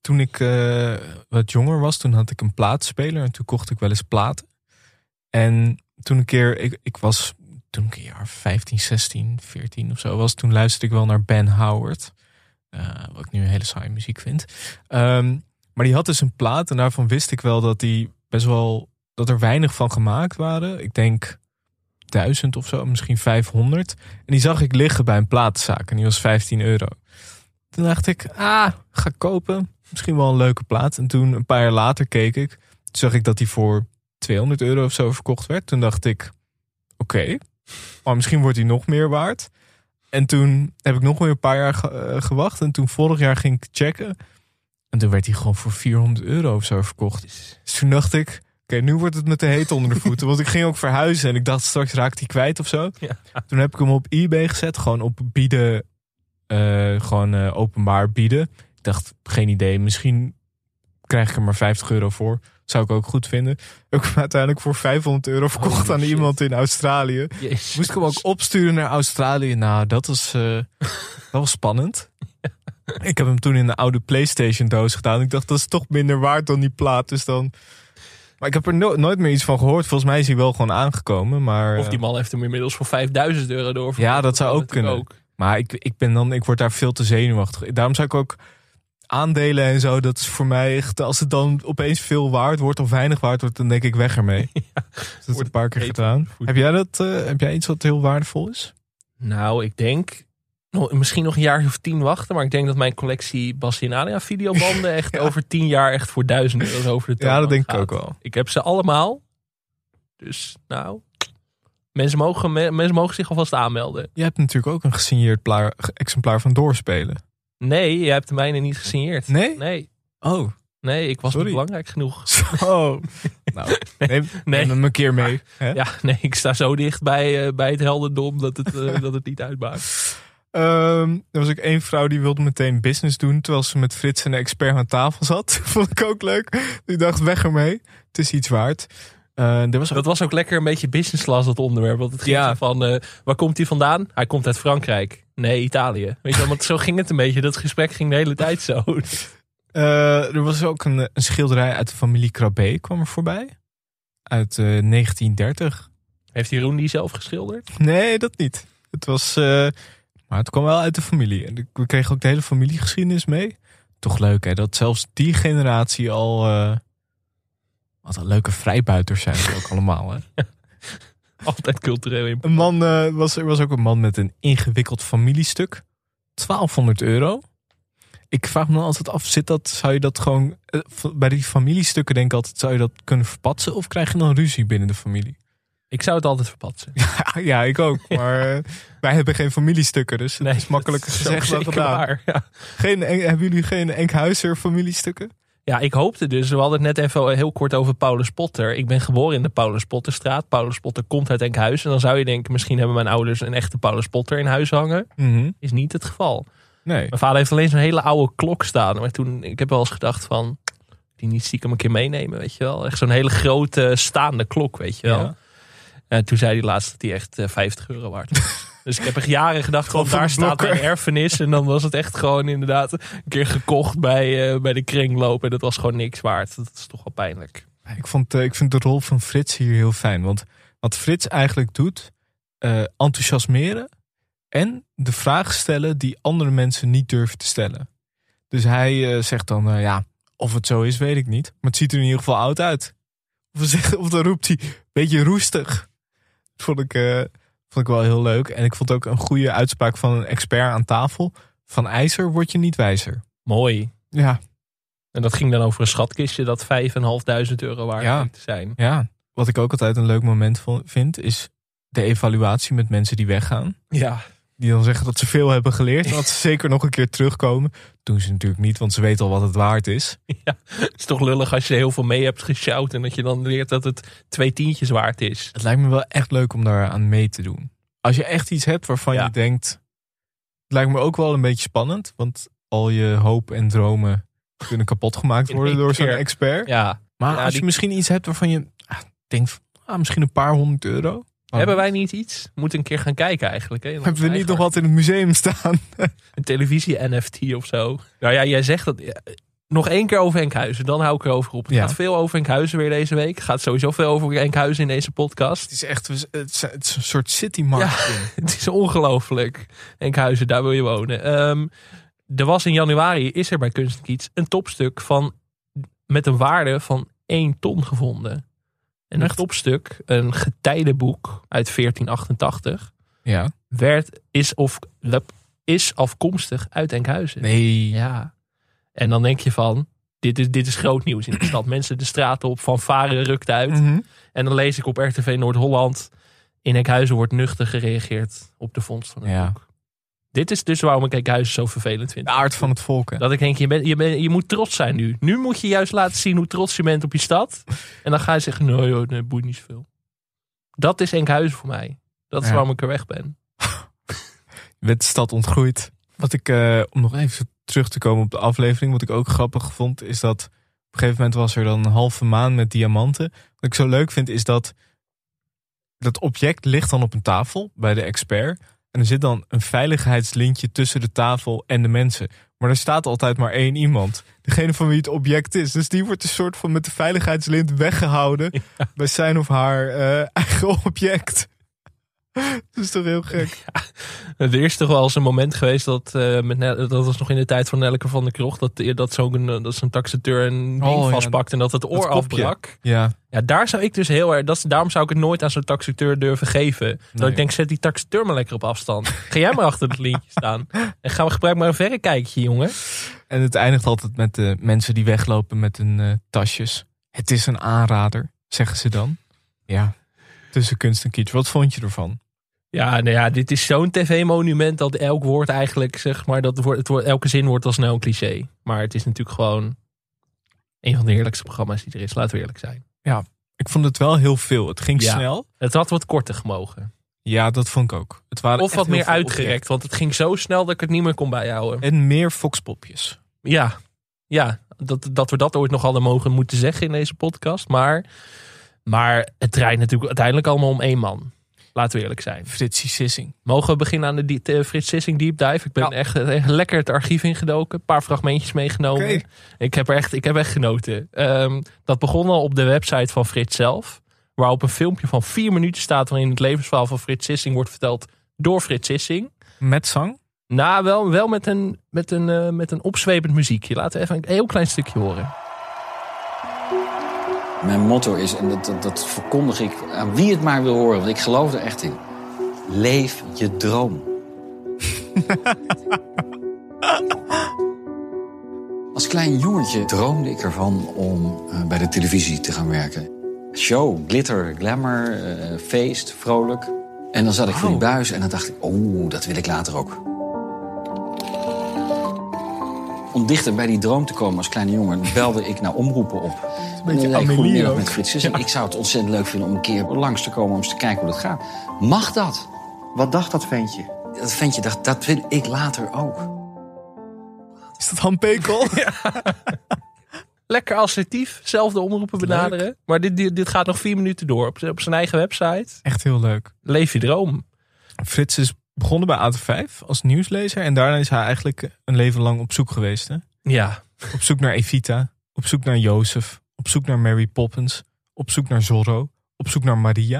Speaker 2: toen ik eh, wat jonger was, toen had ik een plaatspeler en toen kocht ik wel eens platen. En toen een keer, ik, ik was toen ik een jaar 15, 16, 14 of zo was, toen luisterde ik wel naar Ben Howard. Eh, wat ik nu hele saaie muziek vind. Ehm, maar die had dus een plaat en daarvan wist ik wel dat die best wel, dat er weinig van gemaakt waren. Ik denk duizend of zo, misschien 500. En die zag ik liggen bij een platenzaak en die was 15 euro. Toen dacht ik, ah, ga ik kopen. Misschien wel een leuke plaat. En toen een paar jaar later keek ik, toen zag ik dat die voor 200 euro of zo verkocht werd. Toen dacht ik, oké, maar misschien wordt die nog meer waard. En toen heb ik nog weer een paar jaar ge- eh, gewacht. En toen vorig jaar ging ik checken. En toen werd die gewoon voor 400 euro of zo verkocht. Dus toen dacht ik, oké, nu wordt het met de heet onder de voeten. Want ik ging ook verhuizen en ik dacht straks raakt die kwijt of zo. Toen heb ik hem op eBay gezet, gewoon op bieden. eh, gewoon eh, openbaar bieden. Ik dacht, geen idee, misschien krijg ik er maar 50 euro voor. Zou ik ook goed vinden. Ook uiteindelijk voor 500 euro verkocht aan iemand in Australië.
Speaker 1: Jezus.
Speaker 2: Moest ik hem ook opsturen naar Australië. Nou, dat was, eh, dat was spannend. Ik heb hem toen in de oude PlayStation doos gedaan. Ik dacht, dat is toch minder waard dan die plaat. Dus dan... Maar ik heb er no- nooit meer iets van gehoord. Volgens mij is hij wel gewoon aangekomen. Maar, eh,
Speaker 1: Of die man heeft hem inmiddels voor 5000 euro door.
Speaker 2: ja, dat zou ook kunnen.
Speaker 1: natuurlijk
Speaker 2: Maar ik, ik ben dan, ik word daar veel te zenuwachtig. Daarom zou ik ook aandelen en zo. Dat is voor mij echt, als het dan opeens veel waard wordt of weinig waard wordt, dan denk ik weg ermee. Dus dat is een paar keer gedaan. Heb jij dat? eh, heb jij iets wat heel waardevol is?
Speaker 1: Nou, ik denk nog- misschien nog een jaar of tien wachten. Maar ik denk dat mijn collectie Bassi en Alia videobanden echt over tien jaar echt voor duizend euro over de
Speaker 2: Ja, dat denk ik
Speaker 1: toonbank
Speaker 2: ook
Speaker 1: gaat.
Speaker 2: wel.
Speaker 1: Ik heb ze allemaal. Dus nou, mensen mogen, me- mensen mogen zich alvast aanmelden.
Speaker 2: Je hebt natuurlijk ook een gesigneerd pla- exemplaar van doorspelen.
Speaker 1: Nee, jij hebt de mijne niet gesigneerd.
Speaker 2: Nee?
Speaker 1: Nee.
Speaker 2: Oh.
Speaker 1: Nee, ik was
Speaker 2: Sorry.
Speaker 1: niet belangrijk genoeg.
Speaker 2: Zo. Nou, neem, neem hem een keer mee. hè?
Speaker 1: Ja, nee, ik sta zo dicht bij, eh, bij het helderdom dat het, eh, dat het niet uitmaakt.
Speaker 2: Ehm, er was ook één vrouw die wilde meteen business doen. Terwijl ze met Frits en de expert aan tafel zat. Vond ik ook leuk. Die dacht, weg ermee. Het is iets waard. Eh, er was ook-
Speaker 1: Dat was ook lekker een beetje business class, dat onderwerp. Want het ging zo van, eh, waar komt hij vandaan? Hij komt uit Frankrijk. Nee, Italië. Weet je wel, want zo ging het een beetje. Dat gesprek ging de hele tijd zo.
Speaker 2: eh, er was ook een, een schilderij uit de familie Krabbe kwam er voorbij. Uit eh, 1930.
Speaker 1: Heeft Jeroen die zelf geschilderd?
Speaker 2: Nee, dat niet. Het was... eh, maar het kwam wel uit de familie. En We kregen ook de hele familiegeschiedenis mee. Toch leuk hè, dat zelfs die generatie al... eh, wat een leuke vrijbuiters zijn het ook allemaal hè.
Speaker 1: Altijd cultureel in.
Speaker 2: Een man, eh, was, er was ook een man met een ingewikkeld familiestuk. 1200 euro. Ik vraag me dan altijd af, zit dat, zou je dat gewoon... eh, v- Bij die familiestukken denk ik altijd, zou je dat kunnen verpatsen? Of krijg je dan ruzie binnen de familie?
Speaker 1: Ik zou het altijd verpatsen.
Speaker 2: Ja, Ah, ja, ik ook. Maar eh, wij hebben geen familiestukken, dus het is makkelijker
Speaker 1: dat is
Speaker 2: gezegd
Speaker 1: ook
Speaker 2: dan
Speaker 1: zeker
Speaker 2: gedaan.
Speaker 1: waar,
Speaker 2: Geen, Eng- hebben jullie geen Enkhuizer familiestukken?
Speaker 1: Ja, ik hoopte dus. We hadden het net even heel kort over Paulus Potter. Ik ben geboren in de Paulus Potterstraat. Paulus Potter komt uit Enkhuizen. En dan zou je denken, misschien hebben mijn ouders een echte Paulus Potter in huis hangen. Is niet het geval.
Speaker 2: Nee.
Speaker 1: Mijn vader heeft alleen zo'n hele oude klok staan. Maar toen, ik heb wel eens gedacht van, die niet stiekem een keer meenemen, weet je wel. Echt zo'n hele grote staande klok, weet je wel.
Speaker 2: Ja.
Speaker 1: En toen zei hij laatst dat die echt eh, 50 euro waard was. dus ik heb echt jaren gedacht, van,
Speaker 2: van
Speaker 1: daar
Speaker 2: de
Speaker 1: staat
Speaker 2: blokker.
Speaker 1: een erfenis. En dan was het echt gewoon inderdaad een keer gekocht bij, eh, bij de kringloop. En dat was gewoon niks waard. Dat is toch wel pijnlijk.
Speaker 2: Ik, vond, eh, ik vind de rol van Frits hier heel fijn. Want wat Frits eigenlijk doet, eh, enthousiasmeren en de vraag stellen die andere mensen niet durven te stellen. Dus hij eh, zegt dan, eh, ja, of het zo is, weet ik niet. Maar het ziet er in ieder geval oud uit. Of, hij zegt, of dan roept hij, beetje roestig. Dat vond ik, eh, vond ik wel heel leuk. En ik vond ook een goede uitspraak van een expert aan tafel. Van ijzer word je niet wijzer.
Speaker 1: Mooi.
Speaker 2: Ja.
Speaker 1: En dat ging dan over een schatkistje dat 5.500 euro waard
Speaker 2: Ja.
Speaker 1: bleek te zijn.
Speaker 2: Ja, wat ik ook altijd een leuk moment vo- vind, is de evaluatie met mensen die weggaan.
Speaker 1: Ja.
Speaker 2: Die dan zeggen dat ze veel hebben geleerd en dat ze zeker nog een keer terugkomen. Doen ze natuurlijk niet, want ze weten al wat het waard is.
Speaker 1: Ja, het is toch lullig als je heel veel mee hebt gesjouwd en dat je dan leert dat het twee tientjes waard is.
Speaker 2: Het lijkt me wel echt leuk om daar aan mee te doen. Als je echt iets hebt waarvan je denkt, het lijkt me ook wel een beetje spannend, want al je hoop en dromen kunnen kapot gemaakt worden door zo'n expert.
Speaker 1: Ja.
Speaker 2: Maar
Speaker 1: Ja,
Speaker 2: als je
Speaker 1: die-
Speaker 2: misschien iets hebt waarvan je ah, denkt, van, ah, misschien een paar honderd euro.
Speaker 1: Hebben wij niet iets? Moeten een keer gaan kijken eigenlijk. Hè? Dan
Speaker 2: Hebben we niet
Speaker 1: eigenlijk
Speaker 2: nog wat in het museum staan?
Speaker 1: Een televisie-NFT of zo. Nou ja, jij zegt dat. ja, Nog één keer over Enkhuizen, dan hou ik erover op. Het
Speaker 2: Ja.
Speaker 1: gaat veel over Enkhuizen weer deze week. Het gaat sowieso veel over Enkhuizen in deze podcast.
Speaker 2: Het is echt het is, het is een soort city marketing.
Speaker 1: Het is ongelooflijk. Enkhuizen, daar wil je wonen. Ehm, er was in januari, is er bij Kunst en Kiets, een topstuk van, met een waarde van 1 ton gevonden. En een topstuk, een getijdenboek uit 1488,
Speaker 2: Ja.
Speaker 1: werd, is, of, lep- is afkomstig uit Enkhuizen.
Speaker 2: Nee.
Speaker 1: Ja. En dan denk je van, dit is, dit is groot nieuws in de stad. Mensen de straten op, van varen rukt uit.
Speaker 2: Mm. Mhm.
Speaker 1: En dan lees ik op RTV Noord-Holland... in Enkhuizen wordt nuchter gereageerd op de vondst van het
Speaker 2: Ja.
Speaker 1: boek. Dit is dus waarom ik Enkhuizen zo vervelend vind.
Speaker 2: De aard van het volk. hè.
Speaker 1: Dat ik denk, je, bent je, bent je moet trots zijn nu. Nu moet je juist laten zien hoe trots je bent op je stad. En dan ga je zeggen, nee, joh, nee boeit niet zoveel. Dat is Enkhuizen voor mij. Dat is
Speaker 2: Ja.
Speaker 1: waarom ik er weg ben.
Speaker 2: Je bent de stad ontgroeid. Wat ik, eh, om nog even terug te komen op de aflevering, wat ik ook grappig vond, is dat op een gegeven moment was er dan een halve maan met diamanten. Wat ik zo leuk vind, is dat dat object ligt dan op een tafel bij de expert. En er zit dan een veiligheidslintje tussen de tafel en de mensen. Maar er staat altijd maar één iemand. Degene van wie het object is. Dus die wordt een soort van met de veiligheidslint weggehouden. Bij zijn of haar eh, eigen object. Dat is toch heel gek.
Speaker 1: Er is toch wel eens een moment geweest dat, eh, met Nel- dat was nog in de tijd van Nelke van der Krocht, dat, dat zo'n dat zo'n taxateur een ding
Speaker 2: Oh, ja.
Speaker 1: vastpakt en dat het oor
Speaker 2: kopje.
Speaker 1: afbrak.
Speaker 2: Ja.
Speaker 1: Ja, daar zou ik dus heel erg. Dat, is- daarom zou ik het nooit aan zo'n taxateur durven geven. Dat
Speaker 2: Nee.
Speaker 1: ik denk, zet die taxateur maar lekker op afstand. Ga jij maar achter het lintje staan. En gaan we gebruik maar een verrekijkje, jongen.
Speaker 2: En het eindigt altijd met de mensen die weglopen met hun eh, tasjes. Het is een aanrader, zeggen ze dan. Ja. Tussen kunst en kitsch. Wat vond je ervan?
Speaker 1: Ja, nou ja, dit is zo'n tv-monument dat elk woord eigenlijk, zeg maar, dat wordt, het wordt, elke zin wordt al snel een cliché. Maar het is natuurlijk gewoon een van de heerlijkste programma's die er is. Laten we eerlijk zijn.
Speaker 2: Ja, ik vond het wel heel veel. Het ging
Speaker 1: Ja.
Speaker 2: snel.
Speaker 1: Het had wat korter gemogen.
Speaker 2: Ja, dat vond ik ook. Het waren
Speaker 1: Of
Speaker 2: echt
Speaker 1: wat
Speaker 2: heel
Speaker 1: meer
Speaker 2: veel
Speaker 1: uitgerekt, want het ging zo snel dat ik het niet meer kon bijhouden.
Speaker 2: objecten. En meer foxpopjes.
Speaker 1: Ja, ja dat, dat we dat ooit nog hadden mogen moeten zeggen in deze podcast. Maar, maar het draait natuurlijk uiteindelijk allemaal om één man. Laten we eerlijk zijn.
Speaker 2: Fritsie Sissing.
Speaker 1: Mogen we beginnen aan de die- de Frits Sissing deep dive? Ik ben echt, echt lekker het archief ingedoken. Een paar fragmentjes meegenomen.
Speaker 2: Oké.
Speaker 1: Ik, heb er echt, ik heb echt genoten. Ehm, dat begon al op de website van Frits zelf. Waarop een filmpje van vier minuten staat... waarin het levensverhaal van Frits Sissing wordt verteld door Frits Sissing.
Speaker 2: Met zang.
Speaker 1: Nou, wel, wel met, een, met, een, eh, met een opzwepend muziekje. Laten we even een heel klein stukje horen.
Speaker 14: Mijn motto is, en dat, dat, dat verkondig ik aan wie het maar wil horen, want ik geloof er echt in. Leef je droom. Als klein jongetje droomde ik ervan om eh, bij de televisie te gaan werken. Show, glitter, glamour, eh, feest, vrolijk. En dan zat ik voor die buis en dan dacht ik, oh, dat wil ik later ook. Om dichter bij die droom te komen als kleine jongen, belde ik naar omroepen op.
Speaker 2: Een beetje
Speaker 14: En dan zei ik,
Speaker 2: Amelie
Speaker 14: goedemiddag
Speaker 2: ook.
Speaker 14: met Frits Sissing. Ik zou het ontzettend leuk vinden om een keer langs te komen om eens te kijken hoe dat gaat. Mag dat? Wat dacht dat ventje? Dat ventje dacht, dat wil ik later ook.
Speaker 2: Is dat Han Pekel?
Speaker 1: Lekker assertief, zelf de omroepen benaderen. Maar dit, dit, dit gaat nog vier minuten door op, op zijn eigen website.
Speaker 2: Echt heel leuk.
Speaker 1: Leef je droom.
Speaker 2: Frits is begonnen bij AT5 als nieuwslezer. En daarna is hij eigenlijk een leven lang op zoek geweest. Hè?
Speaker 1: Ja.
Speaker 2: Op zoek naar Evita. Op zoek naar Jozef. Op zoek naar Mary Poppins. Op zoek naar Zorro. Op zoek naar Maria.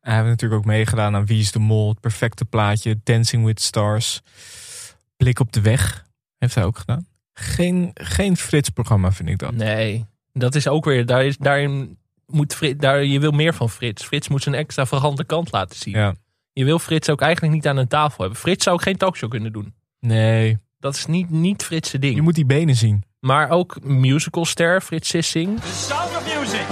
Speaker 2: En hij heeft natuurlijk ook meegedaan aan Wie is de Mol. Het perfecte plaatje. Dancing with Stars. Blik op de weg. Heeft hij ook gedaan. Geen, geen Frits-programma vind ik dat.
Speaker 1: Nee, dat is ook weer, daar is, daarin moet Frits, daar, je wil meer van Frits. Frits moet zijn extravagante kant laten zien.
Speaker 2: Ja.
Speaker 1: Je wil Frits ook eigenlijk niet aan een tafel hebben. Frits zou ook geen talkshow kunnen doen.
Speaker 2: Nee.
Speaker 1: Dat is niet, niet Frits' ding. Je
Speaker 2: moet die benen zien.
Speaker 1: Maar ook musicalster Frits Sissing.
Speaker 15: The sound of music.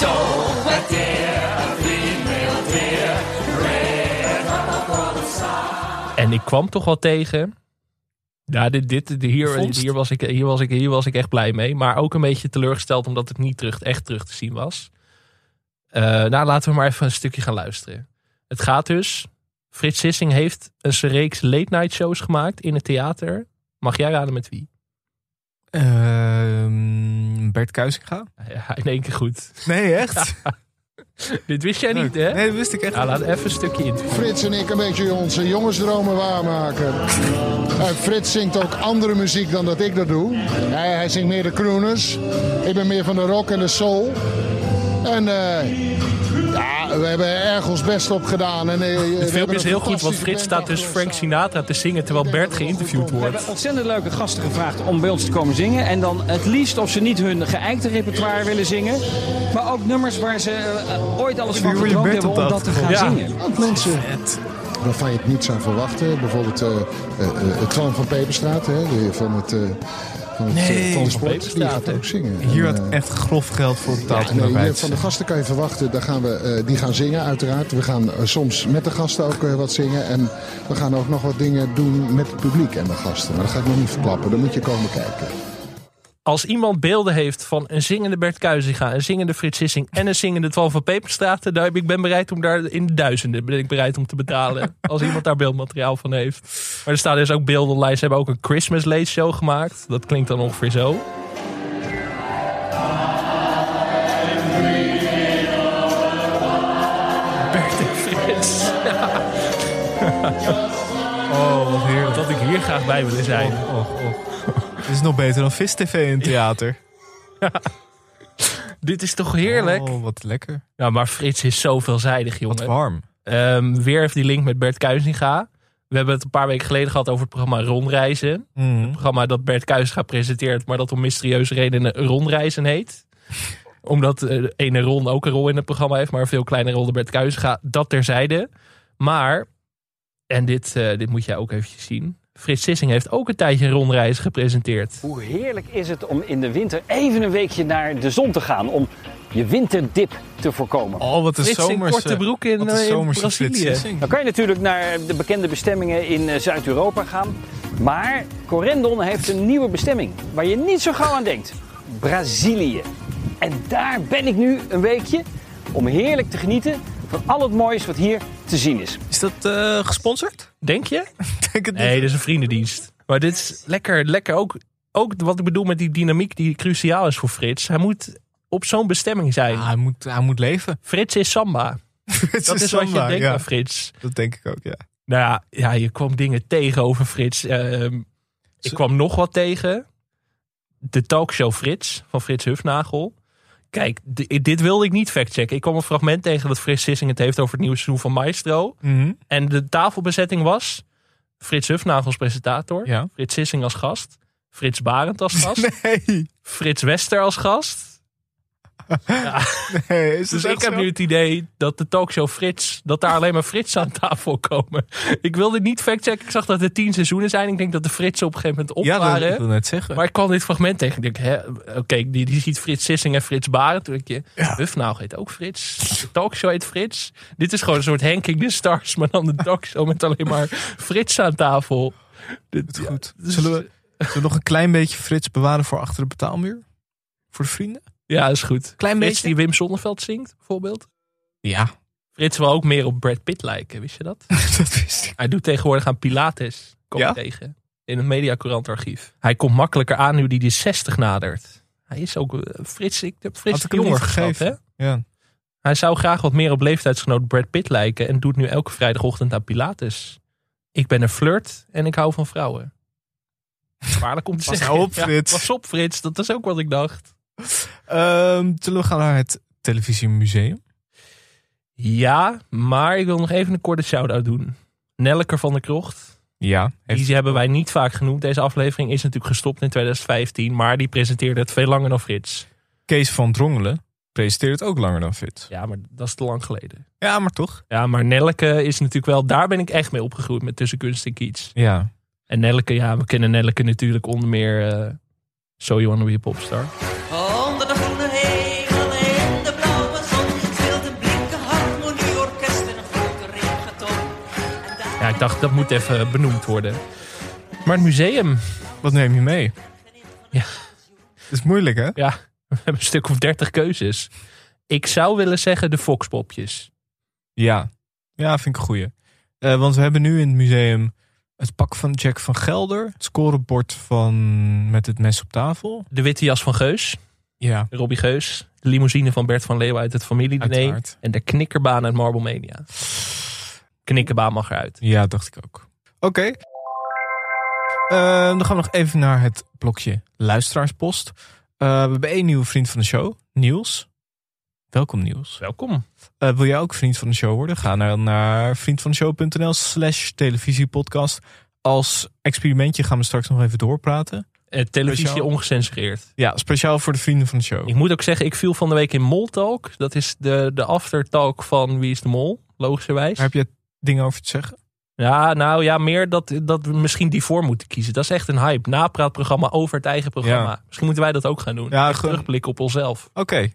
Speaker 15: Don't a dear, a female deer, red up on the side.
Speaker 1: En ik kwam toch wel tegen. Ja, dit, dit, dit- hier,
Speaker 15: Vondst.
Speaker 1: hier, was ik, hier, was ik, hier was ik echt blij mee. Maar ook een beetje teleurgesteld omdat het niet terug, echt terug te zien was. Eh, nou, laten we maar even een stukje gaan luisteren. Het gaat dus. Frits Sissing heeft een reeks late night shows gemaakt in het theater. Mag jij raden met wie?
Speaker 2: Ehm, Bert Kuisinga?
Speaker 1: Ja, in één keer goed.
Speaker 2: Nee, echt?
Speaker 1: Dit wist jij niet, hè? Nee,
Speaker 2: dat wist ik echt
Speaker 1: nou, Laat even een stukje in.
Speaker 8: Frits en ik een beetje onze jongensdromen waarmaken. En Frits zingt ook andere muziek dan dat ik dat doe. Hij, hij zingt meer de crooners. Ik ben meer van de rock en de soul. En eh, ja, we hebben er erg ons best op gedaan. En, eh, we
Speaker 1: Het
Speaker 8: hebben
Speaker 1: filmpje is
Speaker 8: een
Speaker 1: heel goed, want
Speaker 8: fantastische
Speaker 1: Frits staat dus Frank Sinatra te zingen terwijl Bert geïnterviewd
Speaker 16: We
Speaker 1: wordt.
Speaker 16: hebben ontzettend leuke gasten gevraagd om bij ons te komen zingen. En dan het liefst of ze niet hun geëikte repertoire willen zingen. Maar ook nummers waar ze eh, ooit alles van gedroomd hebben om dat te gaan zingen.
Speaker 8: Ook mensen waarvan je het niet zou verwachten. Bijvoorbeeld eh, eh, eh, het Tran van Peperstraat, hè, de- van het... eh van het
Speaker 2: Nee,
Speaker 8: eh,
Speaker 2: van
Speaker 8: transport, die
Speaker 2: Peperstraat,
Speaker 8: gaat
Speaker 2: hè.
Speaker 8: ook zingen.
Speaker 2: Hier
Speaker 8: En,
Speaker 2: had
Speaker 8: eh,
Speaker 2: echt grof geld voor betaald.
Speaker 8: Ja,
Speaker 2: om
Speaker 8: nee,
Speaker 2: erbij
Speaker 8: je-
Speaker 2: te
Speaker 8: van de
Speaker 2: zijn.
Speaker 8: gasten kan je verwachten, daar gaan we, eh, die gaan zingen uiteraard. We gaan eh, soms met de gasten ook eh, wat zingen. En we gaan ook nog wat dingen doen met het publiek en de gasten. Maar dat ga ik nog niet verklappen, dan moet je komen kijken.
Speaker 1: Als iemand beelden heeft van een zingende Bert Kuizinga, een zingende Frits Sissing en een zingende Twan van Peperstraten, daar heb ik ben bereid om daar in de duizenden ben ik bereid om te betalen. als iemand daar beeldmateriaal van heeft. Maar er staan dus ook beelden online. Ze hebben ook een Christmas late show gemaakt. Dat klinkt dan ongeveer zo. Bert en Frits.
Speaker 2: Oh, wat heerlijk.
Speaker 1: Dat ik hier graag bij willen zijn.
Speaker 2: Och, och, och. Dit is nog beter dan Vis TV in het theater.
Speaker 1: Dit is toch heerlijk?
Speaker 2: Oh, wat lekker.
Speaker 1: Nou, maar Frits is zo veelzijdig, jongen.
Speaker 2: Wat warm.
Speaker 1: Ehm, weer heeft die link met Bert Kuizinga. We hebben het een paar weken geleden gehad over het programma Rondreizen.
Speaker 2: Mm.
Speaker 1: Het programma dat Bert Kuizinga presenteert, maar dat om mysterieuze redenen Rondreizen heet. Omdat eh, de ene Ron ook een rol in het programma heeft, maar een veel kleinere rol dan Bert Kuizinga. Dat terzijde. Maar, en dit, eh, dit moet jij ook eventjes zien. Frits Sissing heeft ook een tijdje Rondreizen gepresenteerd.
Speaker 16: Hoe heerlijk is het om in de winter even een weekje naar de zon te gaan. Om je winterdip te voorkomen.
Speaker 2: Oh, wat een
Speaker 1: Frits in zomerse- korte broek in, wat een eh, in zomerse Brazilië. Frits Sissing.
Speaker 16: Dan kan je natuurlijk naar de bekende bestemmingen in eh, Zuid-Europa gaan. Maar Corendon heeft een nieuwe bestemming waar je niet zo gauw aan denkt. Brazilië. En daar ben ik nu een weekje om heerlijk te genieten van al het moois wat hier te zien is.
Speaker 2: Is dat
Speaker 1: eh,
Speaker 2: gesponsord?
Speaker 1: Denk je?
Speaker 2: Denk het
Speaker 1: nee, dit is een vriendendienst. Maar dit is lekker, lekker ook, ook wat ik bedoel met die dynamiek die cruciaal is voor Frits. Hij moet op zo'n bestemming zijn.
Speaker 2: Ah, hij, moet, hij moet leven.
Speaker 1: Frits is samba. dat Ah. is,
Speaker 2: is
Speaker 1: wat je
Speaker 2: samba,
Speaker 1: denkt
Speaker 2: ja.
Speaker 1: aan Frits.
Speaker 2: Dat denk ik ook, ja.
Speaker 1: Nou ja, ja, je kwam dingen tegen over Frits. Ehm, ik kwam nog wat tegen. De talkshow Frits van Frits Hufnagel. Kijk, di- dit wilde ik niet factchecken. Ik kwam een fragment tegen dat Frits Sissing het heeft over het nieuwe seizoen van Maestro.
Speaker 2: Mhm.
Speaker 1: En de tafelbezetting was Frits Hufnagel als presentator.
Speaker 2: Ja.
Speaker 1: Frits Sissing als gast. Frits Barend als gast.
Speaker 2: Nee.
Speaker 1: Frits Wester als gast.
Speaker 2: Nee, is
Speaker 1: dus
Speaker 2: het
Speaker 1: ik
Speaker 2: echt
Speaker 1: heb
Speaker 2: zo?
Speaker 1: nu het idee dat de talkshow Frits, dat daar alleen maar Frits aan tafel komen. Ik wilde niet factchecken. Ik zag dat er tien seizoenen zijn. Ik denk dat de Frits op een gegeven moment op
Speaker 2: Ja, dat
Speaker 1: waren.
Speaker 2: wil ik net zeggen.
Speaker 1: Maar ik kwam dit fragment tegen. Ik denk, hè, oké, die, die ziet Frits Sissing en Frits Barend. Toen denk je, Hufnagel heet ook Frits. De talkshow heet Frits. Dit is gewoon een soort Henking de Stars, maar dan de talkshow met alleen maar Frits aan tafel. Dit,
Speaker 2: goed. Zullen we, zullen we nog een klein beetje Frits bewaren voor achter de betaalmuur? Voor de vrienden?
Speaker 1: Ja, is goed.
Speaker 2: Klein
Speaker 1: Frits
Speaker 2: beetje?
Speaker 1: die Wim Sonneveld zingt, bijvoorbeeld.
Speaker 2: Ja.
Speaker 1: Frits wil ook meer op Brad Pitt lijken, wist je dat?
Speaker 2: dat wist ik.
Speaker 1: Hij doet tegenwoordig aan Pilates, kom
Speaker 2: Ja?
Speaker 1: ik tegen. In het mediacourantarchief. Hij komt makkelijker aan nu die de 60 nadert. Hij is ook eh, Frits, ik heb Frits
Speaker 2: Had ik hem
Speaker 1: jonger
Speaker 2: niet
Speaker 1: geschat, hè?
Speaker 2: gegeven. Ja.
Speaker 1: Hij zou graag wat meer op leeftijdsgenoot Brad Pitt lijken en doet nu elke vrijdagochtend aan Pilates. Ik ben een flirt en ik hou van vrouwen. Waarlijk om te
Speaker 2: Pas
Speaker 1: zeggen.
Speaker 2: nou op,
Speaker 1: Ja,
Speaker 2: Frits.
Speaker 1: pas op, Frits. Dat is ook wat ik dacht.
Speaker 2: Ehm, zullen we gaan naar het televisiemuseum?
Speaker 1: Ja, maar ik wil nog even een korte shout-out doen. Nelleker van der Krocht.
Speaker 2: Ja.
Speaker 1: Die hebben wij niet vaak genoemd. Deze aflevering is natuurlijk gestopt in 2015. Maar die presenteerde het veel langer dan Frits.
Speaker 2: Kees van Drongelen presenteert het ook langer dan Frits.
Speaker 1: Ja, maar dat is te lang geleden.
Speaker 2: Ja, maar toch?
Speaker 1: Ja, maar Nelleke is natuurlijk wel... Daar ben ik echt mee opgegroeid met Tussen Kunst en Kiets.
Speaker 2: Ja.
Speaker 1: En Nelleke, ja, we kennen Nelleke natuurlijk onder meer... eh so You Wanna Be a Popstar.
Speaker 15: Onder de groene hegel in de blauwe zon speelt een blinke harmonieorkest in een grote regenton.
Speaker 1: Ja, ik dacht, dat moet even benoemd worden. Maar het museum...
Speaker 2: Wat neem je mee?
Speaker 1: Ja.
Speaker 2: Dat is moeilijk, hè?
Speaker 1: Ja, we hebben een stuk of dertig keuzes. Ik zou willen zeggen de foxpopjes.
Speaker 2: Ja. Ja, vind ik een goeie. Eh, want we hebben nu in het museum het pak van Jack van Gelder. Het scorebord van Met het mes op tafel.
Speaker 1: De witte jas van Geus.
Speaker 2: Ja.
Speaker 1: Robbie Geus. De limousine van Bert van Leeuwen uit het familiediner.
Speaker 2: Uiteraard.
Speaker 1: En de knikkerbaan uit Marblemania. Knikkerbaan mag eruit.
Speaker 2: Ja, dacht ik ook. Oké. Ehm, dan gaan we nog even naar het blokje luisteraarspost. Eh, we hebben één nieuwe vriend van de show, Niels. Welkom Niels.
Speaker 1: Welkom.
Speaker 2: Eh, wil jij ook vriend van de show worden? Ga dan naar vriendvandeshow.nl slash televisiepodcast. Als experimentje gaan we straks nog even doorpraten.
Speaker 1: Eh, televisie
Speaker 2: Speciaal.
Speaker 1: ongecensureerd.
Speaker 2: Ja, speciaal voor de vrienden van de show.
Speaker 1: Ik moet ook zeggen, ik viel van de week in Moltalk. Dat is de, de aftertalk van Wie is de Mol, logischerwijs.
Speaker 2: Heb je dingen over te zeggen?
Speaker 1: Ja, nou ja, meer dat, dat we misschien die voor moeten kiezen. Dat is echt een hype. Napraatprogramma over het eigen programma.
Speaker 2: Ja.
Speaker 1: Misschien moeten wij dat ook gaan doen.
Speaker 2: Ja,
Speaker 1: Ja,
Speaker 2: gewoon-
Speaker 1: terugblikken op onszelf.
Speaker 2: Oké.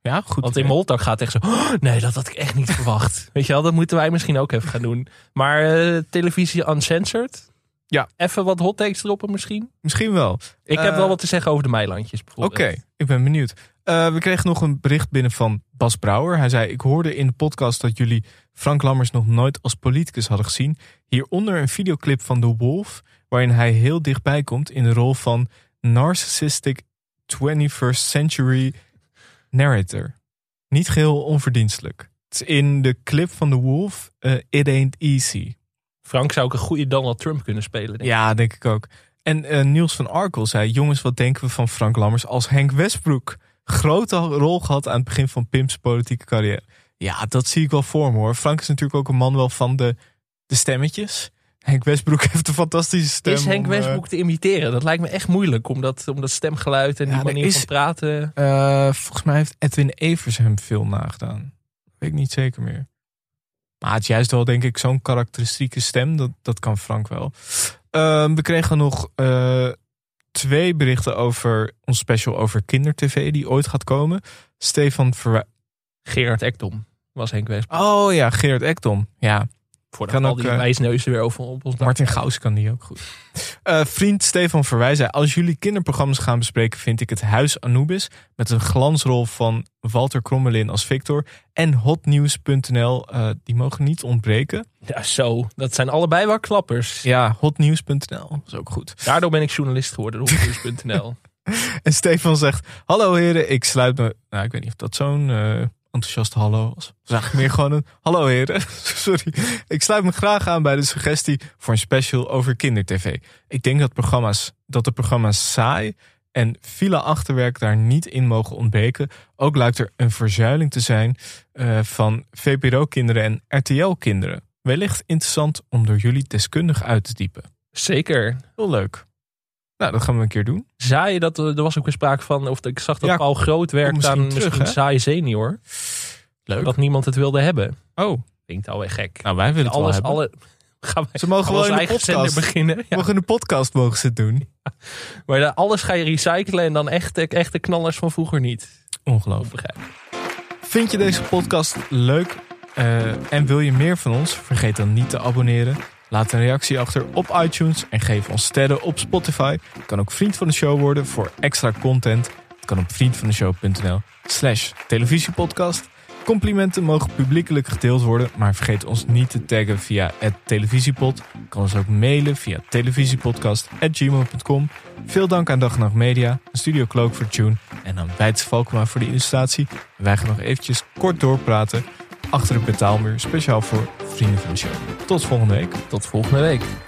Speaker 2: Ja, goed.
Speaker 1: Want in Moltak gaat echt zo. "Oh, nee, dat had ik echt niet verwacht. Weet je wel, dat moeten wij misschien ook even gaan doen. Maar eh, televisie uncensored.
Speaker 2: Ja.
Speaker 1: Even wat hot takes droppen misschien.
Speaker 2: Misschien wel.
Speaker 1: Ik heb
Speaker 2: Eh,
Speaker 1: wel wat te zeggen over de Meilandjes
Speaker 2: Oké,
Speaker 1: bijvoorbeeld.
Speaker 2: ik ben benieuwd. Eh, we kregen nog een bericht binnen van Bas Brouwer. Hij zei: Ik hoorde in de podcast dat jullie Frank Lammers nog nooit als politicus hadden gezien. Hieronder een videoclip van The Wolf, waarin hij heel dichtbij komt in de rol van narcissistic 21st century narrator. Niet geheel onverdienstelijk. Het is in de clip van The Wolf, eh, It Ain't Easy.
Speaker 1: Frank zou ook een goede Donald Trump kunnen spelen. Denk ik.
Speaker 2: Ja, denk ik ook. En eh, Niels van Arkel zei: Jongens, wat denken we van Frank Lammers als Henk Westbroek? Grote rol gehad aan het begin van Pim's politieke carrière. Ja, dat zie ik wel voor me hoor. Frank is natuurlijk ook een man wel van de, de stemmetjes. Henk Westbroek heeft een fantastische stem.
Speaker 1: Is Henk
Speaker 2: om, eh,
Speaker 1: Westbroek te imiteren? Dat lijkt me echt moeilijk. Om dat, om dat stemgeluid en
Speaker 2: Ja,
Speaker 1: die
Speaker 2: er
Speaker 1: manier
Speaker 2: is-
Speaker 1: van praten.
Speaker 2: eh, volgens mij heeft Edwin Evers hem veel nagedaan. Weet ik niet zeker meer. Maar het is juist wel, denk ik, zo'n karakteristieke stem. Dat, dat kan Frank wel. Ehm, we kregen nog eh, twee berichten over ons special over kindertv die ooit gaat komen. Stefan Verwij...
Speaker 1: Gerard Ekdom was Henk Westbroek.
Speaker 2: Oh ja, Gerard Ekdom. Ja.
Speaker 1: Voordat
Speaker 2: Kan
Speaker 1: al
Speaker 2: ook,
Speaker 1: die
Speaker 2: eh,
Speaker 1: wijsneuzen weer over op ons dak.
Speaker 2: Martin Gaus kan die ook goed. Eh, vriend Stefan Verwij zei... Als jullie kinderprogramma's gaan bespreken... vind ik het Huis Anubis... met een glansrol van Walter Krommelin als Victor... en hotnieuws.nl... eh, die mogen niet ontbreken.
Speaker 1: Ja, zo. Dat zijn allebei wel klappers.
Speaker 2: Ja, hotnieuws.nl. Dat is ook goed.
Speaker 1: Daardoor ben ik journalist geworden. door Hotnieuws.nl.
Speaker 2: En Stefan zegt: Hallo heren, ik sluit me. Nou, ik weet niet of dat zo'n eh enthousiaste hallo was. Het was eigenlijk meer gewoon een: Hallo heren, sorry. Ik sluit me graag aan bij de suggestie voor een special over kindertv. Ik denk dat, programma's, dat de programma's saai en file achterwerk daar niet in mogen ontbreken. Ook lijkt er een verzuiling te zijn eh, van VPRO-kinderen en RTL-kinderen. Wellicht interessant om door jullie deskundig uit te diepen.
Speaker 1: Zeker.
Speaker 2: Heel leuk. Nou, dat gaan we een keer doen.
Speaker 1: Zaaien, dat, eh, er was ook weer sprake van, of ik zag dat
Speaker 2: Ja,
Speaker 1: Paul Groot
Speaker 2: komt
Speaker 1: werkt
Speaker 2: misschien
Speaker 1: aan
Speaker 2: terug,
Speaker 1: misschien
Speaker 2: hè?
Speaker 1: Zaaien senior.
Speaker 2: Leuk.
Speaker 1: Dat niemand het wilde hebben.
Speaker 2: Oh.
Speaker 1: Klinkt alweer gek.
Speaker 2: Nou, wij willen het
Speaker 1: alles,
Speaker 2: wel
Speaker 1: alle,
Speaker 2: hebben.
Speaker 1: gaan wij,
Speaker 2: Ze mogen
Speaker 1: gaan
Speaker 2: wel
Speaker 1: we onze
Speaker 2: in de
Speaker 1: eigen zender
Speaker 2: podcast.
Speaker 1: beginnen. Ja.
Speaker 2: Mogen in de podcast mogen ze het doen.
Speaker 1: Maar dan alles ga je recyclen en dan echt, echt de knallers van vroeger niet.
Speaker 2: Ongelooflijk. Vind je deze podcast leuk eh, en wil je meer van ons? Vergeet dan niet te abonneren. Laat een reactie achter op iTunes en geef ons sterren op Spotify. Je kan ook vriend van de show worden voor extra content. Het kan op vriendvandeshow.nl slash televisiepodcast. Complimenten mogen publiekelijk gedeeld worden, maar vergeet ons niet te taggen via het televisiepod. Je kan ons ook mailen via televisiepodcast.gmail.com. Veel dank aan Dag en Nacht Media, Studio Cloak voor Tune en aan Wijts Valkma voor de illustratie. Wij gaan nog eventjes kort doorpraten achter de betaalmuur, speciaal voor vrienden van de show. Tot volgende week.
Speaker 1: Tot volgende week.